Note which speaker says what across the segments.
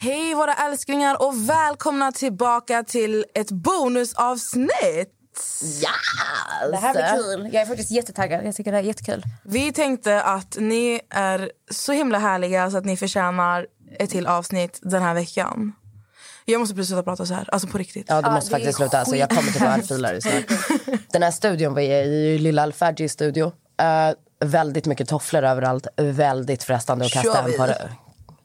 Speaker 1: Hej våra älsklingar och välkomna tillbaka till ett bonusavsnitt.
Speaker 2: Yes! Det här blir kul. Jag är faktiskt jättetaggad. Jag tycker det här är jättekul.
Speaker 1: Vi tänkte att ni är så himla härliga så att ni förtjänar ett till avsnitt den här veckan. Jag måste precis sluta prata så här, alltså på riktigt.
Speaker 3: Ja, du
Speaker 2: Ja,
Speaker 3: måste
Speaker 2: det är
Speaker 3: faktiskt sluta. Alltså, jag kommer till örfilar snart. Den här studion vi är i, Lilla Alfagis studio. Eh, väldigt mycket tofflor överallt. Väldigt frestande att
Speaker 1: Kör
Speaker 3: kasta
Speaker 1: vi.
Speaker 3: en på dig.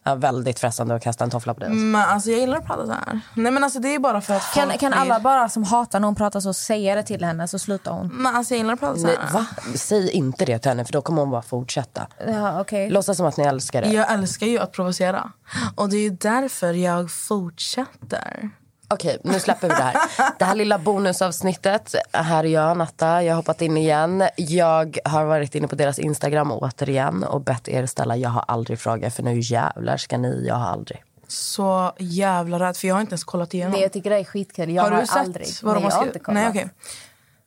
Speaker 3: Ja, väldigt frestande att kasta en toffla på dig.
Speaker 1: Men alltså jag gillar att prata så här. Nej men alltså det är bara för att
Speaker 2: Kan,
Speaker 1: folk
Speaker 2: kan
Speaker 1: blir-
Speaker 2: alla bara som hatar någon prata så säga det till henne så slutar hon?
Speaker 1: Men alltså jag gillar att prata så
Speaker 3: Nej,
Speaker 1: här.
Speaker 3: va? Säg inte det till henne, för då kommer hon bara fortsätta.
Speaker 2: Ja, okej.
Speaker 3: Låtsas som att ni älskar det.
Speaker 1: Jag älskar ju att provocera. Och det är ju därför jag fortsätter.
Speaker 3: Okej, nu släpper vi det här. Det här lilla bonusavsnittet. Här är jag, Natta. Jag har hoppat in igen. Jag har varit inne på deras Instagram återigen och bett er ställa jag har aldrig fråga för nu jävlar ska ni jag har aldrig.
Speaker 1: Så jävla rädd, för jag har inte ens kollat igenom.
Speaker 2: Nej, jag tycker det är skitkul. Jag
Speaker 1: har,
Speaker 2: har,
Speaker 1: du sett
Speaker 2: aldrig.
Speaker 1: vad de
Speaker 2: Nej,
Speaker 1: har
Speaker 2: jag har
Speaker 1: skrivit?
Speaker 2: inte kollat.
Speaker 1: Nej, okej.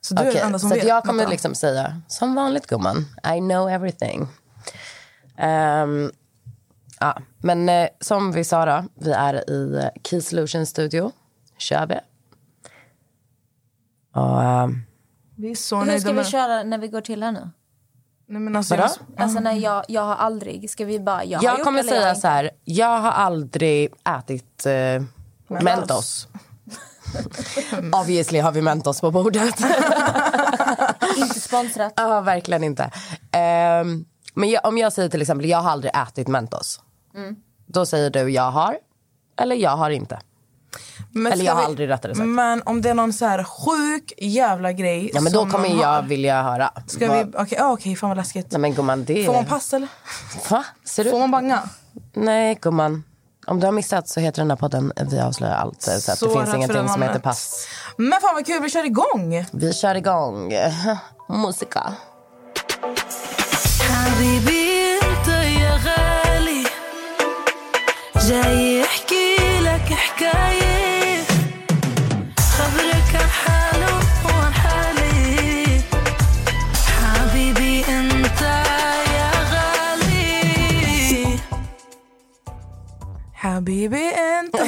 Speaker 1: Så du är
Speaker 3: Okej,
Speaker 1: den enda som
Speaker 3: så
Speaker 1: vet.
Speaker 3: att jag kommer
Speaker 1: Vänta.
Speaker 3: liksom säga som vanligt gumman, I know everything. Ehm, ja, men eh, som vi sa då, vi är i eh, Key Solution Studio, kör vi. Och, ehm,
Speaker 1: Vi är så
Speaker 2: Hur ska
Speaker 1: nöjda
Speaker 2: vi
Speaker 1: med
Speaker 2: köra när vi går till här nu?
Speaker 1: Nej, men alltså,
Speaker 3: Vadå?
Speaker 1: jag, måste-
Speaker 2: Alltså när jag, jag har aldrig. Ska vi bara jag, har
Speaker 3: jag
Speaker 2: gjort
Speaker 3: kommer
Speaker 2: eller jag har
Speaker 3: säga
Speaker 2: inte?
Speaker 3: så här, jag har aldrig ätit eh, Mentos. Obviously har vi Mentos på bordet.
Speaker 2: Inte sponsrat.
Speaker 3: Ja, verkligen inte. Ehm, men jag, om jag säger till exempel, jag har aldrig ätit Mentos.
Speaker 1: Mm.
Speaker 3: Då säger du, jag har. Eller jag har inte.
Speaker 1: Men
Speaker 3: Eller
Speaker 1: ska
Speaker 3: jag har
Speaker 1: vi-
Speaker 3: aldrig rättare sagt.
Speaker 1: Men om det är någon så här sjuk jävla grej
Speaker 3: Ja, men då
Speaker 1: som
Speaker 3: kommer
Speaker 1: man
Speaker 3: jag
Speaker 1: har-
Speaker 3: vilja höra.
Speaker 1: Ska vi...
Speaker 3: Vad-
Speaker 1: Okej, ja, okej, fan vad läskigt.
Speaker 3: Nej men gumman, det...
Speaker 1: Får man pass eller?
Speaker 3: Va? Ser du?
Speaker 1: Får man banga?
Speaker 3: Nej gumman. Om du har missat så heter den här podden Vi avslöjar allt. Så, att
Speaker 1: Så
Speaker 3: det
Speaker 1: rädd
Speaker 3: finns
Speaker 1: för det
Speaker 3: ingenting som heter
Speaker 1: namnet.
Speaker 3: pass.
Speaker 1: Men fan vad kul, vi kör igång!
Speaker 3: Vi kör igång. Musika.
Speaker 4: حبيبي انت يا غالي جاي احكي لك حكاية خبرك عن حاله وعن حالي حبيبي انت يا غالي
Speaker 1: Habibi inte...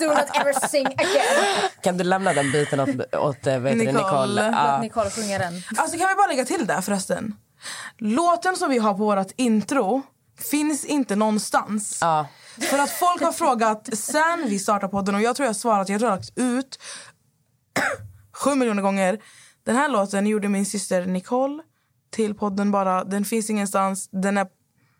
Speaker 2: Do not ever sing again.
Speaker 3: Kan du lämna den biten åt, åt eh, vad heter det,
Speaker 1: Nicole.
Speaker 3: Nicole? Ja.
Speaker 2: Låt Nicole sjunga den.
Speaker 1: Alltså kan vi bara lägga till där förresten? Låten som vi har på vårt intro finns inte någonstans.
Speaker 3: Ja.
Speaker 1: För att folk har frågat sen vi startade podden och jag tror jag har svarat, jag tror jag har lagt ut sju miljoner gånger. Den här låten gjorde min syster Nicole till podden bara. Den finns ingenstans. Den är,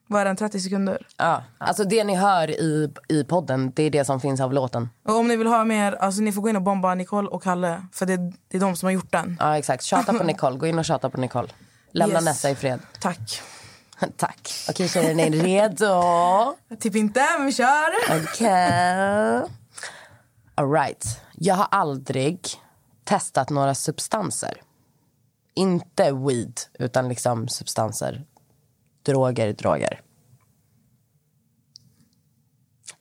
Speaker 1: vad är den, 30 sekunder?
Speaker 3: Ja. Alltså det ni hör i, i podden, det är det som finns av låten.
Speaker 1: Och om ni vill höra mer, alltså ni får gå in och bomba Nicole och Kalle. För det, det är de som har gjort den.
Speaker 3: Ja, exakt. Tjata på Nicole. Gå in och tjata på Nicole. Lämna
Speaker 1: Yes.
Speaker 3: Nessa i fred.
Speaker 1: Tack.
Speaker 3: Tack. Okej, tjejer, ni är redo?
Speaker 1: Typ inte, men vi kör!
Speaker 3: Okej. All right. Jag har aldrig testat några substanser. Inte weed, utan liksom substanser. Droger, droger.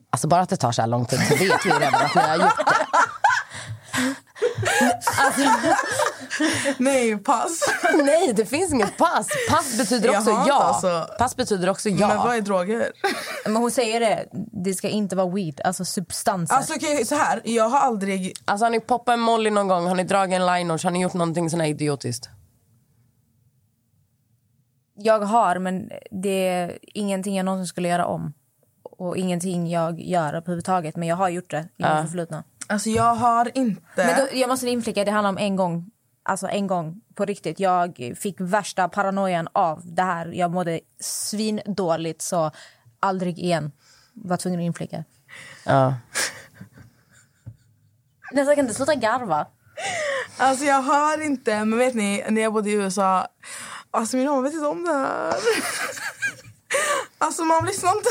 Speaker 3: Alltså bara att det tar så här lång tid så vet vi redan att ni har gjort det.
Speaker 1: Nej, pass.
Speaker 3: Nej, det finns inget pass. Pass betyder
Speaker 1: Jag
Speaker 3: också
Speaker 1: har
Speaker 3: ja.
Speaker 1: inte alltså.
Speaker 3: Pass betyder också ja.
Speaker 1: Men vad är droger?
Speaker 2: Men hon säger det. Det ska inte vara weed, alltså substanser.
Speaker 1: Alltså okej, så här. Jag har aldrig...
Speaker 3: Alltså har ni poppat en molly någon gång? Har ni dragit en liners? Har ni gjort någonting sån här idiotiskt?
Speaker 2: jag har, men det är ingenting jag någonsin skulle göra om. Och ingenting jag gör överhuvudtaget, men jag har gjort det i mitt förflutna.
Speaker 1: Alltså jag har inte...
Speaker 2: Men då, jag måste inflika, det handlar om en gång. Alltså en gång, på riktigt. Jag fick värsta paranoian av det här. Jag mådde svindåligt, så aldrig igen. Var tvungen att inflika.
Speaker 3: Ja.
Speaker 2: Nästan kan inte sluta garva.
Speaker 1: Alltså jag har inte, men vet ni, när jag bodde i USA... Alltså min mamma vet inte om det här. alltså man lyssnar inte.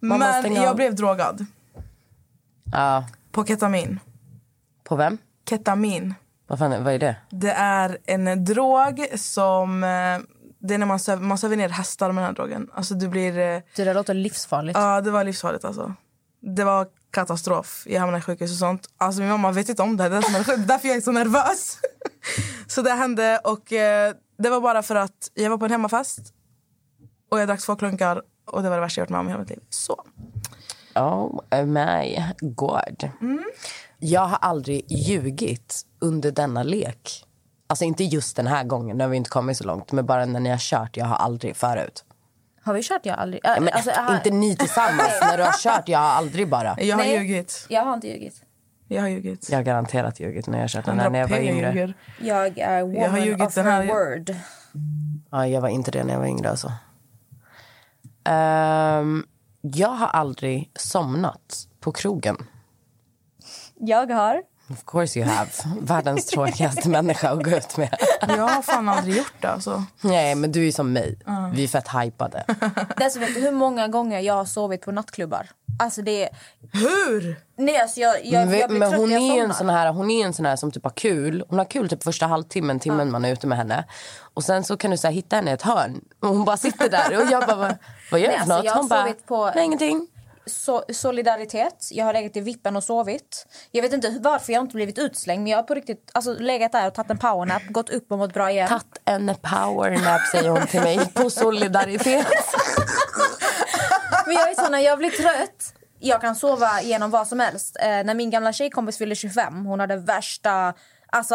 Speaker 3: Mamma,
Speaker 1: men
Speaker 3: stäng
Speaker 1: jag
Speaker 3: av.
Speaker 1: blev drogad.
Speaker 3: Ja.
Speaker 1: På ketamin.
Speaker 3: På vem?
Speaker 1: Ketamin.
Speaker 3: Vad fan, är- vad är det?
Speaker 1: Det är en drog som... eh, Det är när man söver, man söver ner hästar med den här drogen. Alltså du blir... eh,
Speaker 2: Du, det låter livsfarligt.
Speaker 1: Ja, det var livsfarligt alltså. Det var katastrof. Jag hamnade i sjukhus och sånt. Alltså min mamma vet inte om det här. Det är det som är sjukt. därför jag är så nervös. så det hände och eh, det var bara för att jag var på en hemmafest och jag drack två klunkar Och det var det värsta jag varit med om i hela mitt liv. Så.
Speaker 3: Oh my god. Mm. Jag har aldrig ljugit under denna lek. Alltså inte just den här gången, nu har vi inte kommit så långt. Men bara när ni har kört, jag har aldrig förut.
Speaker 2: Har vi kört? Jag har aldrig... Äh,
Speaker 3: Men,
Speaker 2: alltså, jag har-
Speaker 3: Inte ni tillsammans, när du har kört, jag har aldrig bara.
Speaker 1: Jag har
Speaker 2: Nej.
Speaker 1: ljugit.
Speaker 2: Jag har inte ljugit.
Speaker 1: Jag har ljugit.
Speaker 3: Jag har garanterat ljugit när jag har kört den här
Speaker 1: Andra
Speaker 3: när jag var
Speaker 1: pengar
Speaker 3: yngre.
Speaker 1: ljuger.
Speaker 2: Jag är woman jag har
Speaker 1: ljugit
Speaker 2: of
Speaker 1: den
Speaker 2: her
Speaker 1: här-
Speaker 2: word.
Speaker 3: Ja, jag var inte det när jag var yngre. Alltså. Ehm, jag har aldrig somnat på krogen.
Speaker 2: Jag har...
Speaker 3: Of course you have. Världens tråkigaste människa att gå ut med.
Speaker 1: Jag har fan aldrig gjort det. Alltså.
Speaker 3: Nej, men du är som mig. Vi är fett hypade.
Speaker 2: Dessutom Alltså, vet du hur många gånger jag har sovit på nattklubbar. Alltså det är...
Speaker 1: Hur?
Speaker 2: Nej, alltså jag, jag, jag blir
Speaker 3: men
Speaker 2: trött
Speaker 3: hon
Speaker 2: när
Speaker 3: är, ju
Speaker 2: jag
Speaker 3: en sån
Speaker 2: somnar.
Speaker 3: här, hon är en sån här som typ har kul. Hon har kul typ första halvtimmen, timmen man är ute med henne. Och sen så kan du så här hitta henne i ett hörn. Och hon bara sitter där. Och jag bara, "Vad- vad gör
Speaker 2: Nej,
Speaker 3: du för
Speaker 2: alltså,
Speaker 3: något?
Speaker 2: jag har
Speaker 3: hon bara,
Speaker 2: sovit på-
Speaker 3: nej ingenting.
Speaker 2: So solidaritet. Jag har legat i vippen och sovit. Jag vet inte varför jag inte blivit utslängd men jag har på riktigt alltså, legat där och tagit en powernap, gått upp och mått bra igen.
Speaker 3: Tatt en powernap säger hon till mig. På solidaritet.
Speaker 2: Men jag är sån när jag blir trött. Jag kan sova genom vad som helst. Eh, när min gamla tjejkompis fyllde 25, hon hade värsta alltså,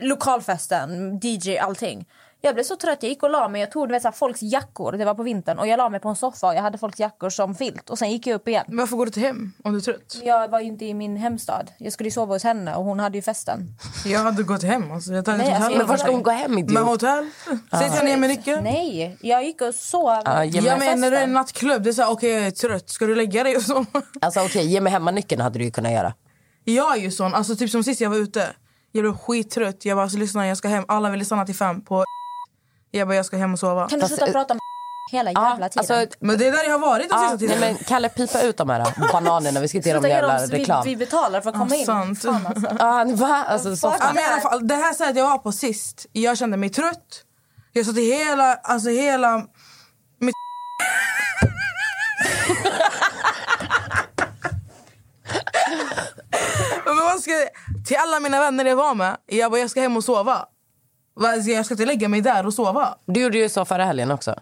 Speaker 2: lokalfesten, DJ, allting. Jag blev så trött, jag gick och la mig. Jag tog du vet, så här, folks jackor, det var på vintern. Och jag la mig på en soffa och jag hade folks jackor som filt. Och sen gick jag upp igen.
Speaker 1: Men Varför går du till hem om du är trött?
Speaker 2: Jag var ju inte i min hemstad. Jag skulle ju sova hos henne och hon hade ju festen.
Speaker 1: Jag hade gått hem. Alltså. Jag tar
Speaker 2: Nej,
Speaker 1: inte
Speaker 2: alltså,
Speaker 1: hotell.
Speaker 2: jag-
Speaker 3: Men var ska hon gå hem
Speaker 1: Med
Speaker 3: idiot?
Speaker 1: hotell? Säg till henne med nyckeln.
Speaker 2: Nej, jag gick och sov.
Speaker 3: Ja,
Speaker 2: på
Speaker 3: ge
Speaker 1: Ja,
Speaker 3: mig,
Speaker 1: men när du är i en
Speaker 2: festen.
Speaker 1: nattklubb, det är såhär, okej jag är trött, ska du lägga dig? Och så.
Speaker 3: alltså, okej, ge mig hemmanyckeln hade du ju kunnat göra.
Speaker 1: Jag är ju sån, alltså typ som sist jag var ute. Jag blev skittrött, jag bara alltså, lyssna jag ska hem. Alla ville stanna till fem på Jag bara jag ska hem och sova.
Speaker 2: Kan du
Speaker 3: Fast,
Speaker 2: sluta
Speaker 3: eh,
Speaker 2: prata om hela jävla tiden?
Speaker 3: alltså,
Speaker 1: Men det är där jag har varit den
Speaker 3: ja,
Speaker 1: sista
Speaker 3: Ah, nej,
Speaker 1: tiden.
Speaker 3: men Kalle pipa ut de här äh, bananerna, vi ska inte ge dem
Speaker 2: Sluta göra
Speaker 3: jävla
Speaker 2: oss- vi,
Speaker 3: reklam.
Speaker 2: vi betalar för att komma in.
Speaker 1: sant.
Speaker 2: Fan, alltså.
Speaker 3: Ja, va? Alltså, så
Speaker 1: Ja, men i alla fall, det här stället jag var på sist, jag kände mig trött. Jag satt i hela, alltså hela mitt men vad ska, Till alla mina vänner jag var med, jag bara jag ska hem och sova. Vad- Jag ska inte lägga mig där och sova.
Speaker 3: Du gjorde ju så förra helgen också.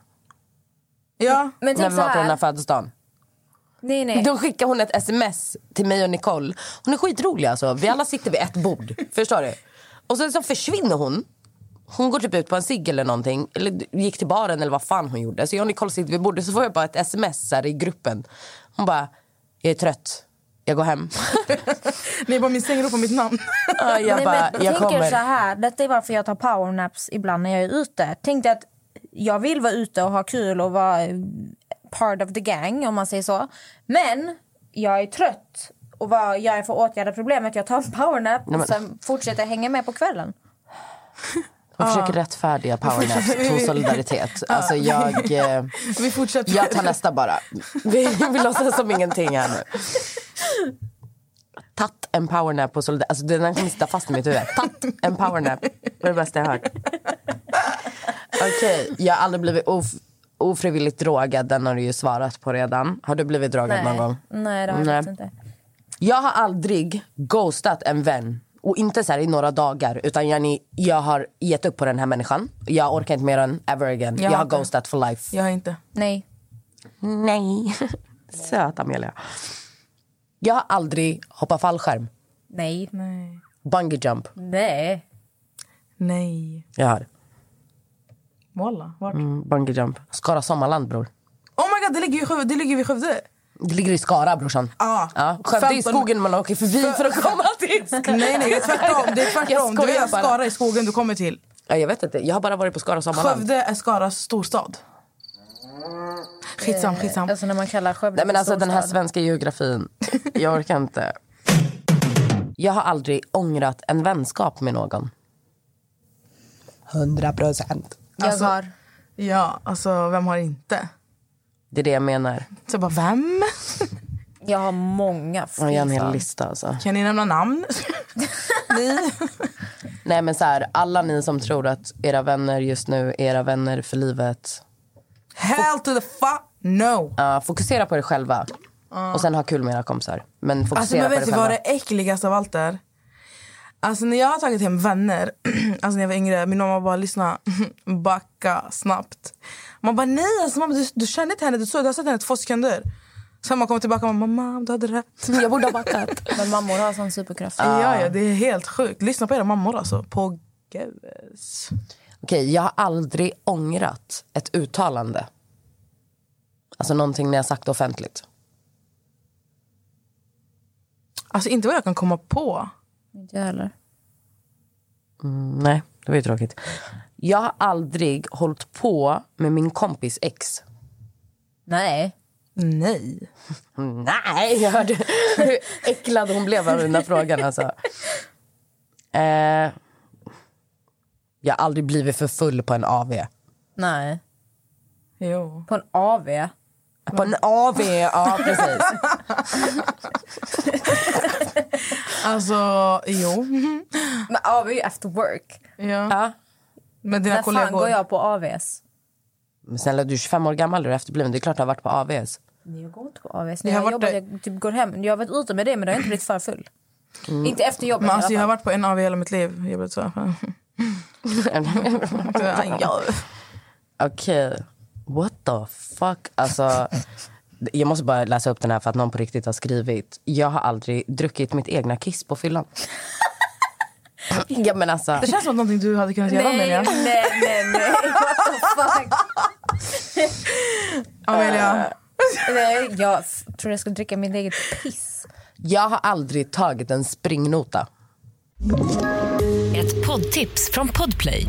Speaker 1: Ja.
Speaker 2: Men
Speaker 3: när
Speaker 2: tänk så
Speaker 3: vi var på den Typ här
Speaker 2: här.
Speaker 3: födelsedagen.
Speaker 2: Nej, nej.
Speaker 3: Då skickade hon ett sms till mig och Nicole. Hon är skitrolig alltså. Vi alla sitter vid ett bord. förstår du? Och sen så försvinner hon. Hon går typ ut på en cigg eller någonting. Eller gick till baren eller vad fan hon gjorde. Så jag och Nicole sitter vid bordet. Så får jag bara ett sms så här i gruppen. Hon bara, jag är trött. Jag går hem.
Speaker 1: Ni bara min säng ropar mitt namn.
Speaker 3: Ja, jag
Speaker 2: Nej,
Speaker 3: bara,
Speaker 2: men
Speaker 3: jag
Speaker 2: tänk er så
Speaker 3: kommer.
Speaker 2: här, detta är varför jag tar powernaps ibland när jag är ute. Tänk dig att jag vill vara ute och ha kul och vara eh, part of the gang, om man säger så. Men jag är trött. Och vad gör jag för att åtgärda problemet? Jag tar en powernap och sen fortsätter jag hänga med på kvällen.
Speaker 3: Hon försöker
Speaker 2: "Ah."
Speaker 3: rättfärdiga powernaps på solidaritet. Alltså jag, eh,
Speaker 1: Vi fortsätter.
Speaker 3: jag tar nästa bara. Vi, vi låtsas som ingenting här nu. Tatt en powernap på solidaritet. Alltså den här kommer sitta fast i mitt huvud. Tatt en powernap. Det var det bästa jag hört. Okej, jag har aldrig blivit of, ofrivilligt drogad. Den har du ju svarat på redan. Har du blivit drogad någon gång?
Speaker 2: Nej, det har jag
Speaker 3: Nej.
Speaker 2: faktiskt inte.
Speaker 3: Jag har aldrig ghostat en vän. Och inte så här i några dagar. Utan jag, ni- jag har gett upp på den här människan. Jag orkar inte mer än ever again. Jag,
Speaker 1: har
Speaker 3: har
Speaker 1: inte.
Speaker 3: ghostat for life.
Speaker 1: Jag har inte.
Speaker 2: Nej.
Speaker 3: Nej. Söta Amelia. Jag har aldrig hoppat fallskärm.
Speaker 2: Nej.
Speaker 1: Nej.
Speaker 3: Bungee jump.
Speaker 2: Nej.
Speaker 1: Nej.
Speaker 3: Jag har.
Speaker 1: Walla, vart?
Speaker 3: Mm, bungee jump. Skara Sommarland bror.
Speaker 1: Oh my god, det ligger, i Skövde, det ligger vid Skövde.
Speaker 3: Det ligger i Skara brorsan.
Speaker 1: Ja.
Speaker 3: Ja. Skövde i
Speaker 1: 15
Speaker 3: skogen man åker förbi för att komma till Skara.
Speaker 1: Nej, nej, det är tvärtom. Det är
Speaker 3: Jag
Speaker 1: tvärtom.
Speaker 3: skojar
Speaker 1: Du är
Speaker 3: bara.
Speaker 1: Skara i skogen du kommer till.
Speaker 3: Ja, jag vet inte. Jag har bara varit på Skara Sommarland.
Speaker 1: Skövde är Skaras storstad.
Speaker 3: Eh,
Speaker 1: Skitsam, skitsam.
Speaker 2: Alltså när man kallar Skövde
Speaker 3: Nej men
Speaker 2: för
Speaker 3: alltså den här
Speaker 2: storstad.
Speaker 3: svenska geografin. Jag orkar inte. Jag har aldrig ångrat en vänskap med någon. 100 procent.
Speaker 1: Alltså-
Speaker 2: Jag har.
Speaker 1: Ja, alltså vem har inte?
Speaker 3: Det är det jag menar.
Speaker 1: Så jag bara, vem?
Speaker 2: Jag har många. fy
Speaker 3: Jag har en hel
Speaker 2: fan.
Speaker 3: lista alltså.
Speaker 1: Kan ni nämna namn? Ni?
Speaker 3: Nej men så här, alla ni som tror att era vänner just nu är era vänner för livet.
Speaker 1: Hell to the fuck no!
Speaker 3: Ja, fokusera på er själva. Och sen ha kul med era kompisar. Men fokusera
Speaker 1: Alltså men
Speaker 3: på er
Speaker 1: vet du
Speaker 3: själva.
Speaker 1: vad det äckligaste av allt är? Alltså när jag har tagit hem vänner, alltså när jag var yngre, min mamma bara lyssna, backa snabbt. Man bara nej, alltså mamma du, du kände inte henne, du, såg, du har sett henne två sekunder. Sen man kommer tillbaka och mamma du hade rätt.
Speaker 3: Jag borde ha backat.
Speaker 2: Men mammor har sån superkraft.
Speaker 1: Ja, ja, det är helt sjukt. Lyssna på era mammor alltså. På gus.
Speaker 3: Okej, jag har aldrig ångrat ett uttalande. Alltså någonting när jag sagt det offentligt.
Speaker 1: Alltså inte vad jag kan komma på.
Speaker 2: Inte jag heller.
Speaker 3: Mm, nej, det var ju tråkigt. Jag har aldrig hållit på med min kompis ex.
Speaker 2: Nej.
Speaker 1: Nej.
Speaker 3: Nej, jag hörde Mm. hur äcklad hon blev av den där frågan. Alltså. Eh, jag har aldrig blivit för full på en AV.
Speaker 2: Nej.
Speaker 1: Jo.
Speaker 2: På en AV.
Speaker 3: På en AV, ja precis.
Speaker 1: Alltså, jo.
Speaker 2: Men AV är ju after work.
Speaker 1: Ja.
Speaker 3: Ja.
Speaker 1: Med dina
Speaker 2: När fan
Speaker 1: kollegor.
Speaker 2: går jag på AVs?
Speaker 3: Men snälla, du är 25 år gammal, du är efterbliven. Det är klart du har varit på AVs.
Speaker 2: Nej, Jag går inte på AVs.
Speaker 1: Jag har
Speaker 2: När jag,
Speaker 1: varit
Speaker 2: jobbar,
Speaker 1: där-
Speaker 2: jag typ går hem. Jag har varit ute med det, men det har inte blivit för full. Mm. Inte efter jobbet
Speaker 1: Men
Speaker 2: i
Speaker 1: alltså,
Speaker 2: alla
Speaker 1: jag har
Speaker 2: fall.
Speaker 1: varit på en av i hela mitt liv. Jag blev så. Ja.
Speaker 3: Okej. What the fuck? Alltså, jag måste bara läsa upp den här för att någon på riktigt har skrivit. Jag har aldrig druckit mitt egna kiss på fyllan. ja men alltså.
Speaker 1: Det känns som att någonting du hade kunnat göra
Speaker 2: Nej,
Speaker 1: Amelia.
Speaker 2: nej, nej, nej. What the fuck?
Speaker 1: Amelia.
Speaker 2: Nej, jag f- tror jag skulle dricka mitt eget piss.
Speaker 3: Jag har aldrig tagit en springnota.
Speaker 5: Ett poddtips från Podplay.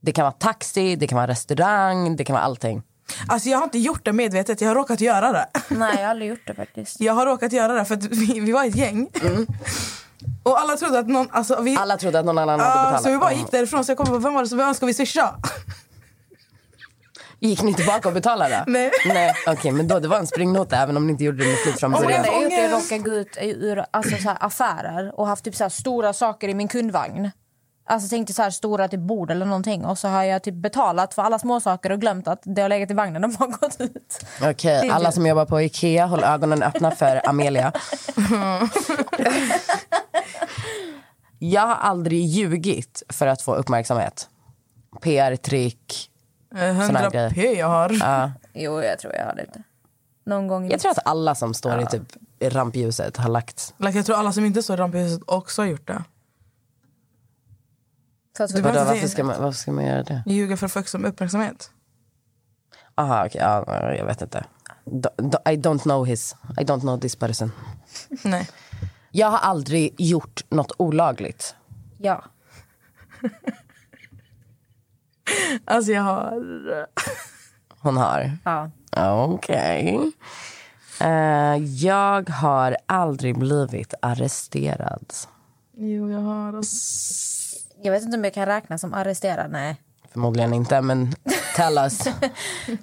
Speaker 3: Det kan vara taxi, det kan vara restaurang, det kan vara allting.
Speaker 1: Alltså, jag har inte gjort det medvetet, jag har råkat göra det.
Speaker 2: Nej, jag har aldrig gjort det faktiskt.
Speaker 1: Jag har råkat göra det för att vi, vi var ett gäng. Och alla trodde att någon... Alltså, vi,
Speaker 3: Alla trodde att någon annan hade
Speaker 1: Ja,
Speaker 3: betalat.
Speaker 1: så vi bara gick därifrån så jag kom på vem var det som vem ska vi swisha?
Speaker 3: Gick ni tillbaka och betalade?
Speaker 1: Nej.
Speaker 3: Nej. Okej, men då det var en springnota även om ni inte gjorde det med flit från
Speaker 2: Alltså, Det
Speaker 3: början.
Speaker 2: enda jag har gjort är
Speaker 1: Ångest.
Speaker 2: att råka gå ut ur alltså, så här, affärer och haft typ, så här, stora saker i min kundvagn. Alltså tänkte så här stora typ bord eller någonting och så har jag typ betalat för alla små saker och glömt att det har legat i vagnen och bara gått ut.
Speaker 3: Okej,
Speaker 2: Det är
Speaker 3: alla
Speaker 2: du.
Speaker 3: som jobbar på Ikea, håll ögonen öppna för Amelia. Jag har aldrig ljugit för att få uppmärksamhet. PR-trick.
Speaker 1: Eh,
Speaker 3: här
Speaker 1: 100
Speaker 3: grejer.
Speaker 1: p jag har.
Speaker 2: Jo, jag tror jag har det. Någon gång. i
Speaker 3: Jag tror att alla som står i typ rampljuset har lagt...
Speaker 1: Like, jag tror alla som inte står i ramphuset också har gjort det.
Speaker 2: mitt- för att-
Speaker 1: var-
Speaker 3: Vadå,
Speaker 1: Varför
Speaker 3: varför, ska man, varför ska man göra det?
Speaker 1: Ljuga för att få extra uppmärksamhet.
Speaker 3: Aha, okej. ja, jag vet inte. Do, do, I don't know his... I don't know this person.
Speaker 1: Nej.
Speaker 3: Jag har aldrig gjort något olagligt.
Speaker 2: Ja.
Speaker 1: Alltså jag har...
Speaker 3: Hon har.
Speaker 2: ja.
Speaker 3: Okej. Eh, jag har aldrig blivit arresterad.
Speaker 1: Jo, jag har.
Speaker 2: Jag vet inte om jag kan räkna som arresterad. Nej.
Speaker 3: Förmodligen inte, men tell us.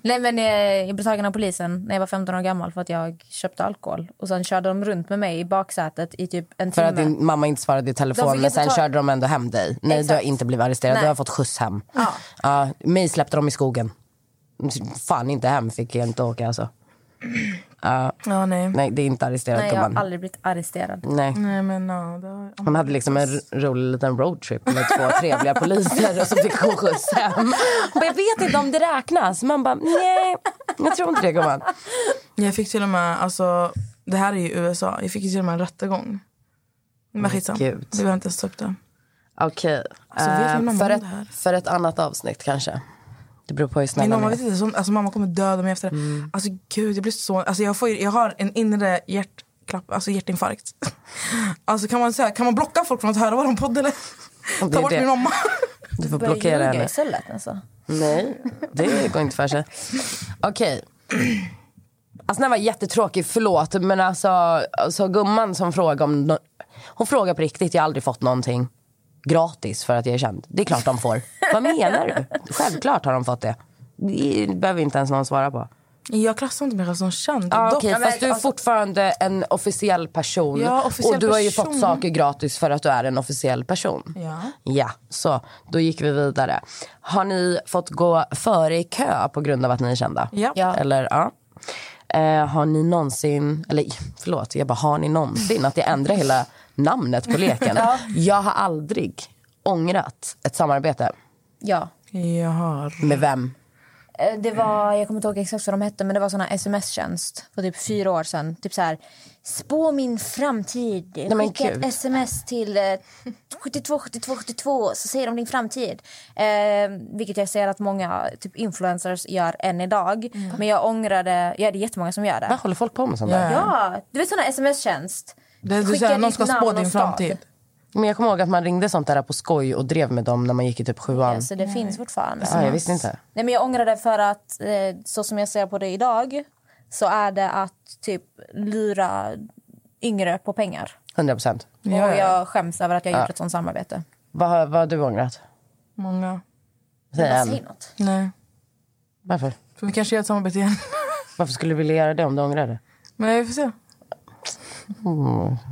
Speaker 2: Nej, men eh, jag blev tagen av polisen när jag var 15 år gammal för att jag köpte alkohol. Och sen körde de runt med mig i baksätet i typ en
Speaker 3: För
Speaker 2: timme.
Speaker 3: att din mamma inte svarade i
Speaker 2: De
Speaker 3: telefon,
Speaker 2: fick
Speaker 3: men
Speaker 2: inte
Speaker 3: sen
Speaker 2: ta-
Speaker 3: körde de ändå hem dig. Nej, du har
Speaker 2: Exakt.
Speaker 3: inte blivit arresterad. Du
Speaker 2: Nej.
Speaker 3: har fått skjuts hem. Ja. mig släppte de i skogen. Fan, inte hem fick jag inte åka. Alltså.
Speaker 1: Ja, nej.
Speaker 3: Nej, det är inte arresterad,
Speaker 2: Nej, jag har
Speaker 3: gumman.
Speaker 2: aldrig blivit arresterad.
Speaker 3: Nej.
Speaker 1: Nej, men no, det har...
Speaker 3: Hon hade liksom en r- rolig liten roadtrip med två trevliga poliser och så fick hon skjuts hem. Hon bara, jag vet inte om det räknas. Man bara, nej, jag tror inte det gumman.
Speaker 1: Jag fick till och med... Alltså, det här är ju USA. Jag fick ju till och med en rättegång. Men skitsamma. Vi
Speaker 3: gud.
Speaker 1: behöver inte ens ta upp det.
Speaker 3: Okej,
Speaker 1: Alltså, vet
Speaker 3: eh,
Speaker 1: min mamma
Speaker 3: för,
Speaker 1: om
Speaker 3: ett,
Speaker 1: det här?
Speaker 3: för ett annat avsnitt kanske. Det beror på hur
Speaker 1: Min
Speaker 3: snälla
Speaker 1: mamma
Speaker 3: ni
Speaker 1: vet
Speaker 3: är.
Speaker 1: inte, sånt, alltså mamma kommer döda mig efter det. Alltså gud, jag blir så... Alltså jag, får, ju- jag har en inre hjärtklapp, alltså hjärtinfarkt. Alltså kan man, säga, kan man blocka folk från att höra våran podd eller?
Speaker 3: Det är
Speaker 1: Ta bort
Speaker 3: det.
Speaker 1: min mamma.
Speaker 3: Du får
Speaker 2: Börja
Speaker 3: blockera
Speaker 2: ljuga
Speaker 3: henne.
Speaker 2: istället alltså.
Speaker 3: Nej, det går inte för sig. Okej. Alltså den här var jättetråkig, förlåt. Men alltså, alltså gumman som frågade om... nå- Hon frågade på riktigt, jag har aldrig fått någonting. gratis för att jag är känd. Det är klart de får. Vad menar du? Självklart har de fått det. Det behöver inte ens någon svara på.
Speaker 1: Jag klassar inte mig själv som känd.
Speaker 3: Ja,
Speaker 1: dock.
Speaker 3: okej, fast du är fortfarande en officiell person.
Speaker 1: Ja, officiell
Speaker 3: och du har ju
Speaker 1: person.
Speaker 3: fått saker gratis för att du är en officiell person.
Speaker 1: Ja.
Speaker 3: Ja, så då gick vi vidare. Har ni fått gå före i kö på grund av att ni är kända?
Speaker 1: Ja. Ja.
Speaker 3: Eller, ja. Eh, har ni någonsin, eller förlåt, jag bara har ni någonsin att jag ändrar hela namnet på leken? Jag har aldrig ångrat ett samarbete.
Speaker 2: Ja.
Speaker 1: Jag har...
Speaker 3: Med vem?
Speaker 2: Eh, Det var, jag kommer inte ihåg exakt vad de hette, men det var såna sms-tjänst för typ fyra år sedan. Typ så här, spå min framtid.
Speaker 3: men
Speaker 2: Skicka ett
Speaker 3: gud.
Speaker 2: sms till eh, 72 72 72 så säger de din framtid. Eh, vilket jag ser att många typ influencers gör än idag.
Speaker 3: Mm.
Speaker 2: Men jag ångrade, ja det är jättemånga som gör
Speaker 3: Vad
Speaker 2: det.
Speaker 3: håller folk på med sånt där?
Speaker 2: Ja, du vet såna sms-tjänst.
Speaker 1: Det, du
Speaker 2: Skicka
Speaker 1: säger,
Speaker 2: ditt
Speaker 1: någon ska
Speaker 2: namn
Speaker 1: spå
Speaker 2: och
Speaker 1: din
Speaker 2: stad.
Speaker 1: framtid.
Speaker 3: Men jag kommer ihåg att man ringde sånt där på skoj och drev med dem när man gick i typ sjuan.
Speaker 2: Ja, så det finns fortfarande.
Speaker 3: Ja, jag visste inte.
Speaker 2: Nej, men jag ångrar det för att eh, så som jag ser på det idag så är det att typ lura yngre på pengar.
Speaker 3: 100 procent.
Speaker 1: Ja,
Speaker 2: Och
Speaker 1: ja.
Speaker 2: jag skäms över att jag gjort ett sånt samarbete.
Speaker 3: Vad, har- vad har du ångrat?
Speaker 1: Många.
Speaker 3: Säg
Speaker 2: Säg
Speaker 3: en.
Speaker 2: något.
Speaker 1: Nej.
Speaker 3: Varför?
Speaker 1: För vi kanske gör ett samarbete igen.
Speaker 3: Varför skulle du vilja göra det om du ångrar det?
Speaker 1: Men vi får se.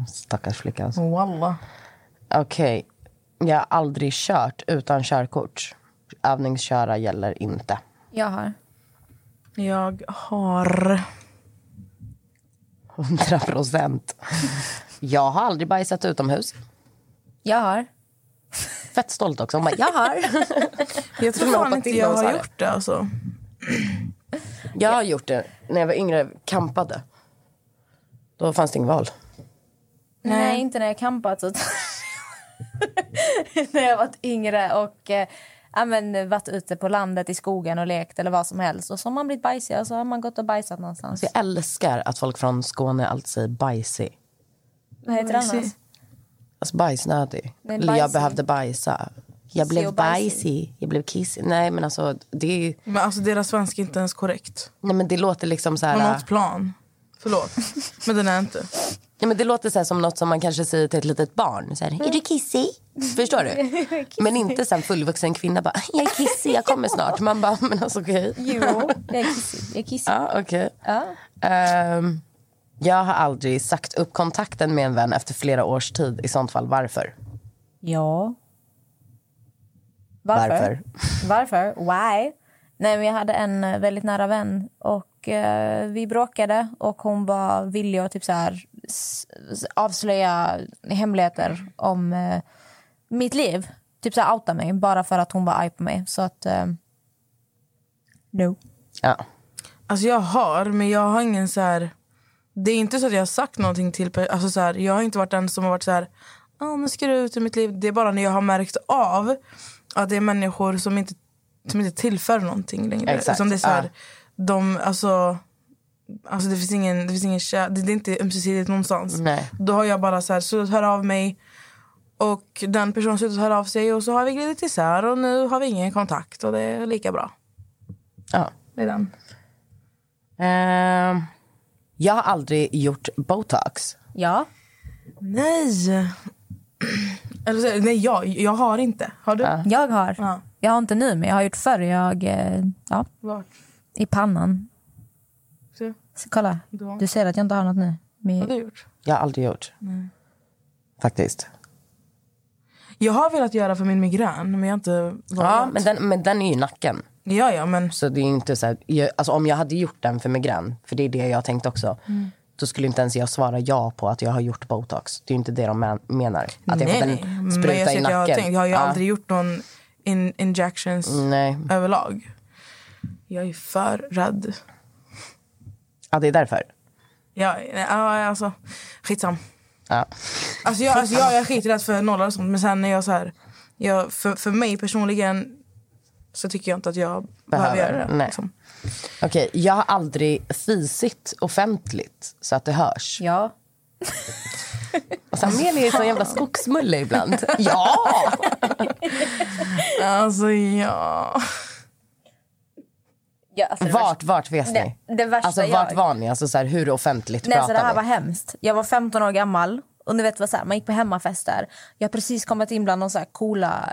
Speaker 3: Stackars flicka alltså.
Speaker 1: Walla.
Speaker 3: Okej. Jag har aldrig kört utan körkort. Övningsköra gäller inte.
Speaker 2: Jag har.
Speaker 1: Jag har...
Speaker 3: 100 procent. Jag har aldrig bajsat utomhus.
Speaker 2: Jag har.
Speaker 3: Fett stolt också. Hon bara, jag har.
Speaker 1: Jag tror
Speaker 3: Jag
Speaker 1: fan
Speaker 3: hoppar
Speaker 1: inte
Speaker 3: till när
Speaker 1: jag
Speaker 3: hon sa
Speaker 1: har
Speaker 3: det.
Speaker 1: gjort det. Alltså.
Speaker 3: Jag har gjort det när jag var yngre. Kampade. Då fanns det inget val.
Speaker 2: Nej, inte när jag campat utan när jag varit yngre och eh, ja, men, varit ute på landet i skogen och lekt eller vad som helst. Och så har man blivit bajsig och så har man gått och bajsat någonstans.
Speaker 3: Jag älskar att folk från Skåne alltid säger bajsig.
Speaker 2: Vad heter det annars?
Speaker 3: Alltså bajsnödig.
Speaker 2: Nej,
Speaker 3: Eller jag
Speaker 2: bajsig.
Speaker 3: behövde bajsa. Jag blev
Speaker 2: och bajsig.
Speaker 3: bajsig. Jag blev kissig. Nej men alltså det är ju...
Speaker 1: Men alltså, deras svenska är inte ens korrekt.
Speaker 3: Nej men det låter liksom så
Speaker 1: På
Speaker 3: här...
Speaker 1: något plan. Förlåt. Men den är inte.
Speaker 3: Ja, men det låter så här som något som man kanske säger till ett litet barn. Så här, är du kissig? Förstår du? Men inte sen fullvuxen kvinna bara, jag är kissig, jag kommer snart. Man bara, men alltså okej.
Speaker 2: Jo, jag är kissig. Jag är kissig.
Speaker 3: Ja, okej. Ehm, jag har aldrig sagt upp kontakten med en vän efter flera års tid. I sånt fall, varför?
Speaker 2: Ja. Varför?
Speaker 3: Varför?
Speaker 2: Varför? Why? Nej, men jag hade en eh, väldigt nära vän och eh, vi bråkade och hon var villig att typ så här, s- s- avslöja hemligheter om eh, mitt liv. Typ så här, outa mig bara för att hon var arg på mig. Så att... Eh, no.
Speaker 3: Ja.
Speaker 1: Alltså jag har, men jag har ingen så här... Det är inte så att jag har sagt någonting till per- alltså så här, Jag har inte varit den som har varit så här... "Ah, nu ska du ut ur mitt liv. Det är bara när jag har märkt av att det är människor som inte, som inte tillför någonting längre.
Speaker 3: Exakt,
Speaker 1: Utan det är så här,
Speaker 3: ja.
Speaker 1: de, alltså, alltså det finns ingen, det finns ingen kär, det, det är inte ömsesidigt någonstans.
Speaker 3: Nej.
Speaker 1: Då har jag bara så här, slutat höra av mig. Och den personen slutar höra av sig och så har vi glidit isär och nu har vi ingen kontakt och det är lika bra.
Speaker 3: ja.
Speaker 1: Det är den.
Speaker 3: Ehm, jag har aldrig gjort botox.
Speaker 2: Ja.
Speaker 1: Nej. Eller så, nej, jag, jag har inte. Har du?
Speaker 2: Jag har.
Speaker 1: Ja.
Speaker 2: Jag har inte nu, men jag har gjort förr. Jag, eh, ja,
Speaker 1: Vart?
Speaker 2: I pannan.
Speaker 1: Se.
Speaker 2: Så, kolla.
Speaker 1: Du har-
Speaker 2: Du ser att jag inte har något nu.
Speaker 1: Har
Speaker 2: Men,
Speaker 1: du gjort?
Speaker 3: Jag har aldrig gjort. Faktiskt.
Speaker 1: Jag har velat göra för min migrän, men jag har inte
Speaker 3: Ja,
Speaker 1: vågat.
Speaker 3: men den, men den är ju i nacken.
Speaker 1: Ja, ja, men
Speaker 3: Så det är ju inte så här, jag, alltså om jag hade gjort den för migrän, för det är det jag har tänkt också. Då skulle inte ens jag svara ja på att jag har gjort botox. Det är ju inte det de men- menar. Att jag fått en
Speaker 1: Men jag,
Speaker 3: spruta
Speaker 1: ser
Speaker 3: i
Speaker 1: att jag, har,
Speaker 3: nacken.
Speaker 1: tänkt, jag har ju
Speaker 3: Ja. Mm.
Speaker 1: aldrig gjort någon in, injections
Speaker 3: Nej,
Speaker 1: överlag. Jag är för rädd.
Speaker 3: ja, det är därför.
Speaker 1: Ja, nej, ja, alltså, skitsam.
Speaker 3: Ja.
Speaker 1: Alltså jag, alltså jag, jag är skiträdd för nollar och sånt, men sen är jag så här... Jag, för, för mig personligen så tycker jag inte att jag behöver,
Speaker 3: Behöver,
Speaker 1: göra det.
Speaker 3: nej.
Speaker 1: liksom.
Speaker 3: Okej, jag har aldrig fisit offentligt så att det hörs.
Speaker 2: ja.
Speaker 3: Alltså, Amelia är så jävla skogsmulle ibland. ja!
Speaker 1: Alltså, ja...
Speaker 2: Ja, alltså det
Speaker 3: Vart, vart vet ni?
Speaker 2: Nej, det värsta
Speaker 3: alltså, vart
Speaker 2: jag-
Speaker 3: var ni? Alltså, så här, hur offentligt
Speaker 2: Nej, så
Speaker 3: pratar
Speaker 2: det här
Speaker 3: ni?
Speaker 2: var hemskt. Jag var 15 år gammal Och ni vet vad, så här, man gick på hemmafester. Jag har precis kommit in bland de, så här coola,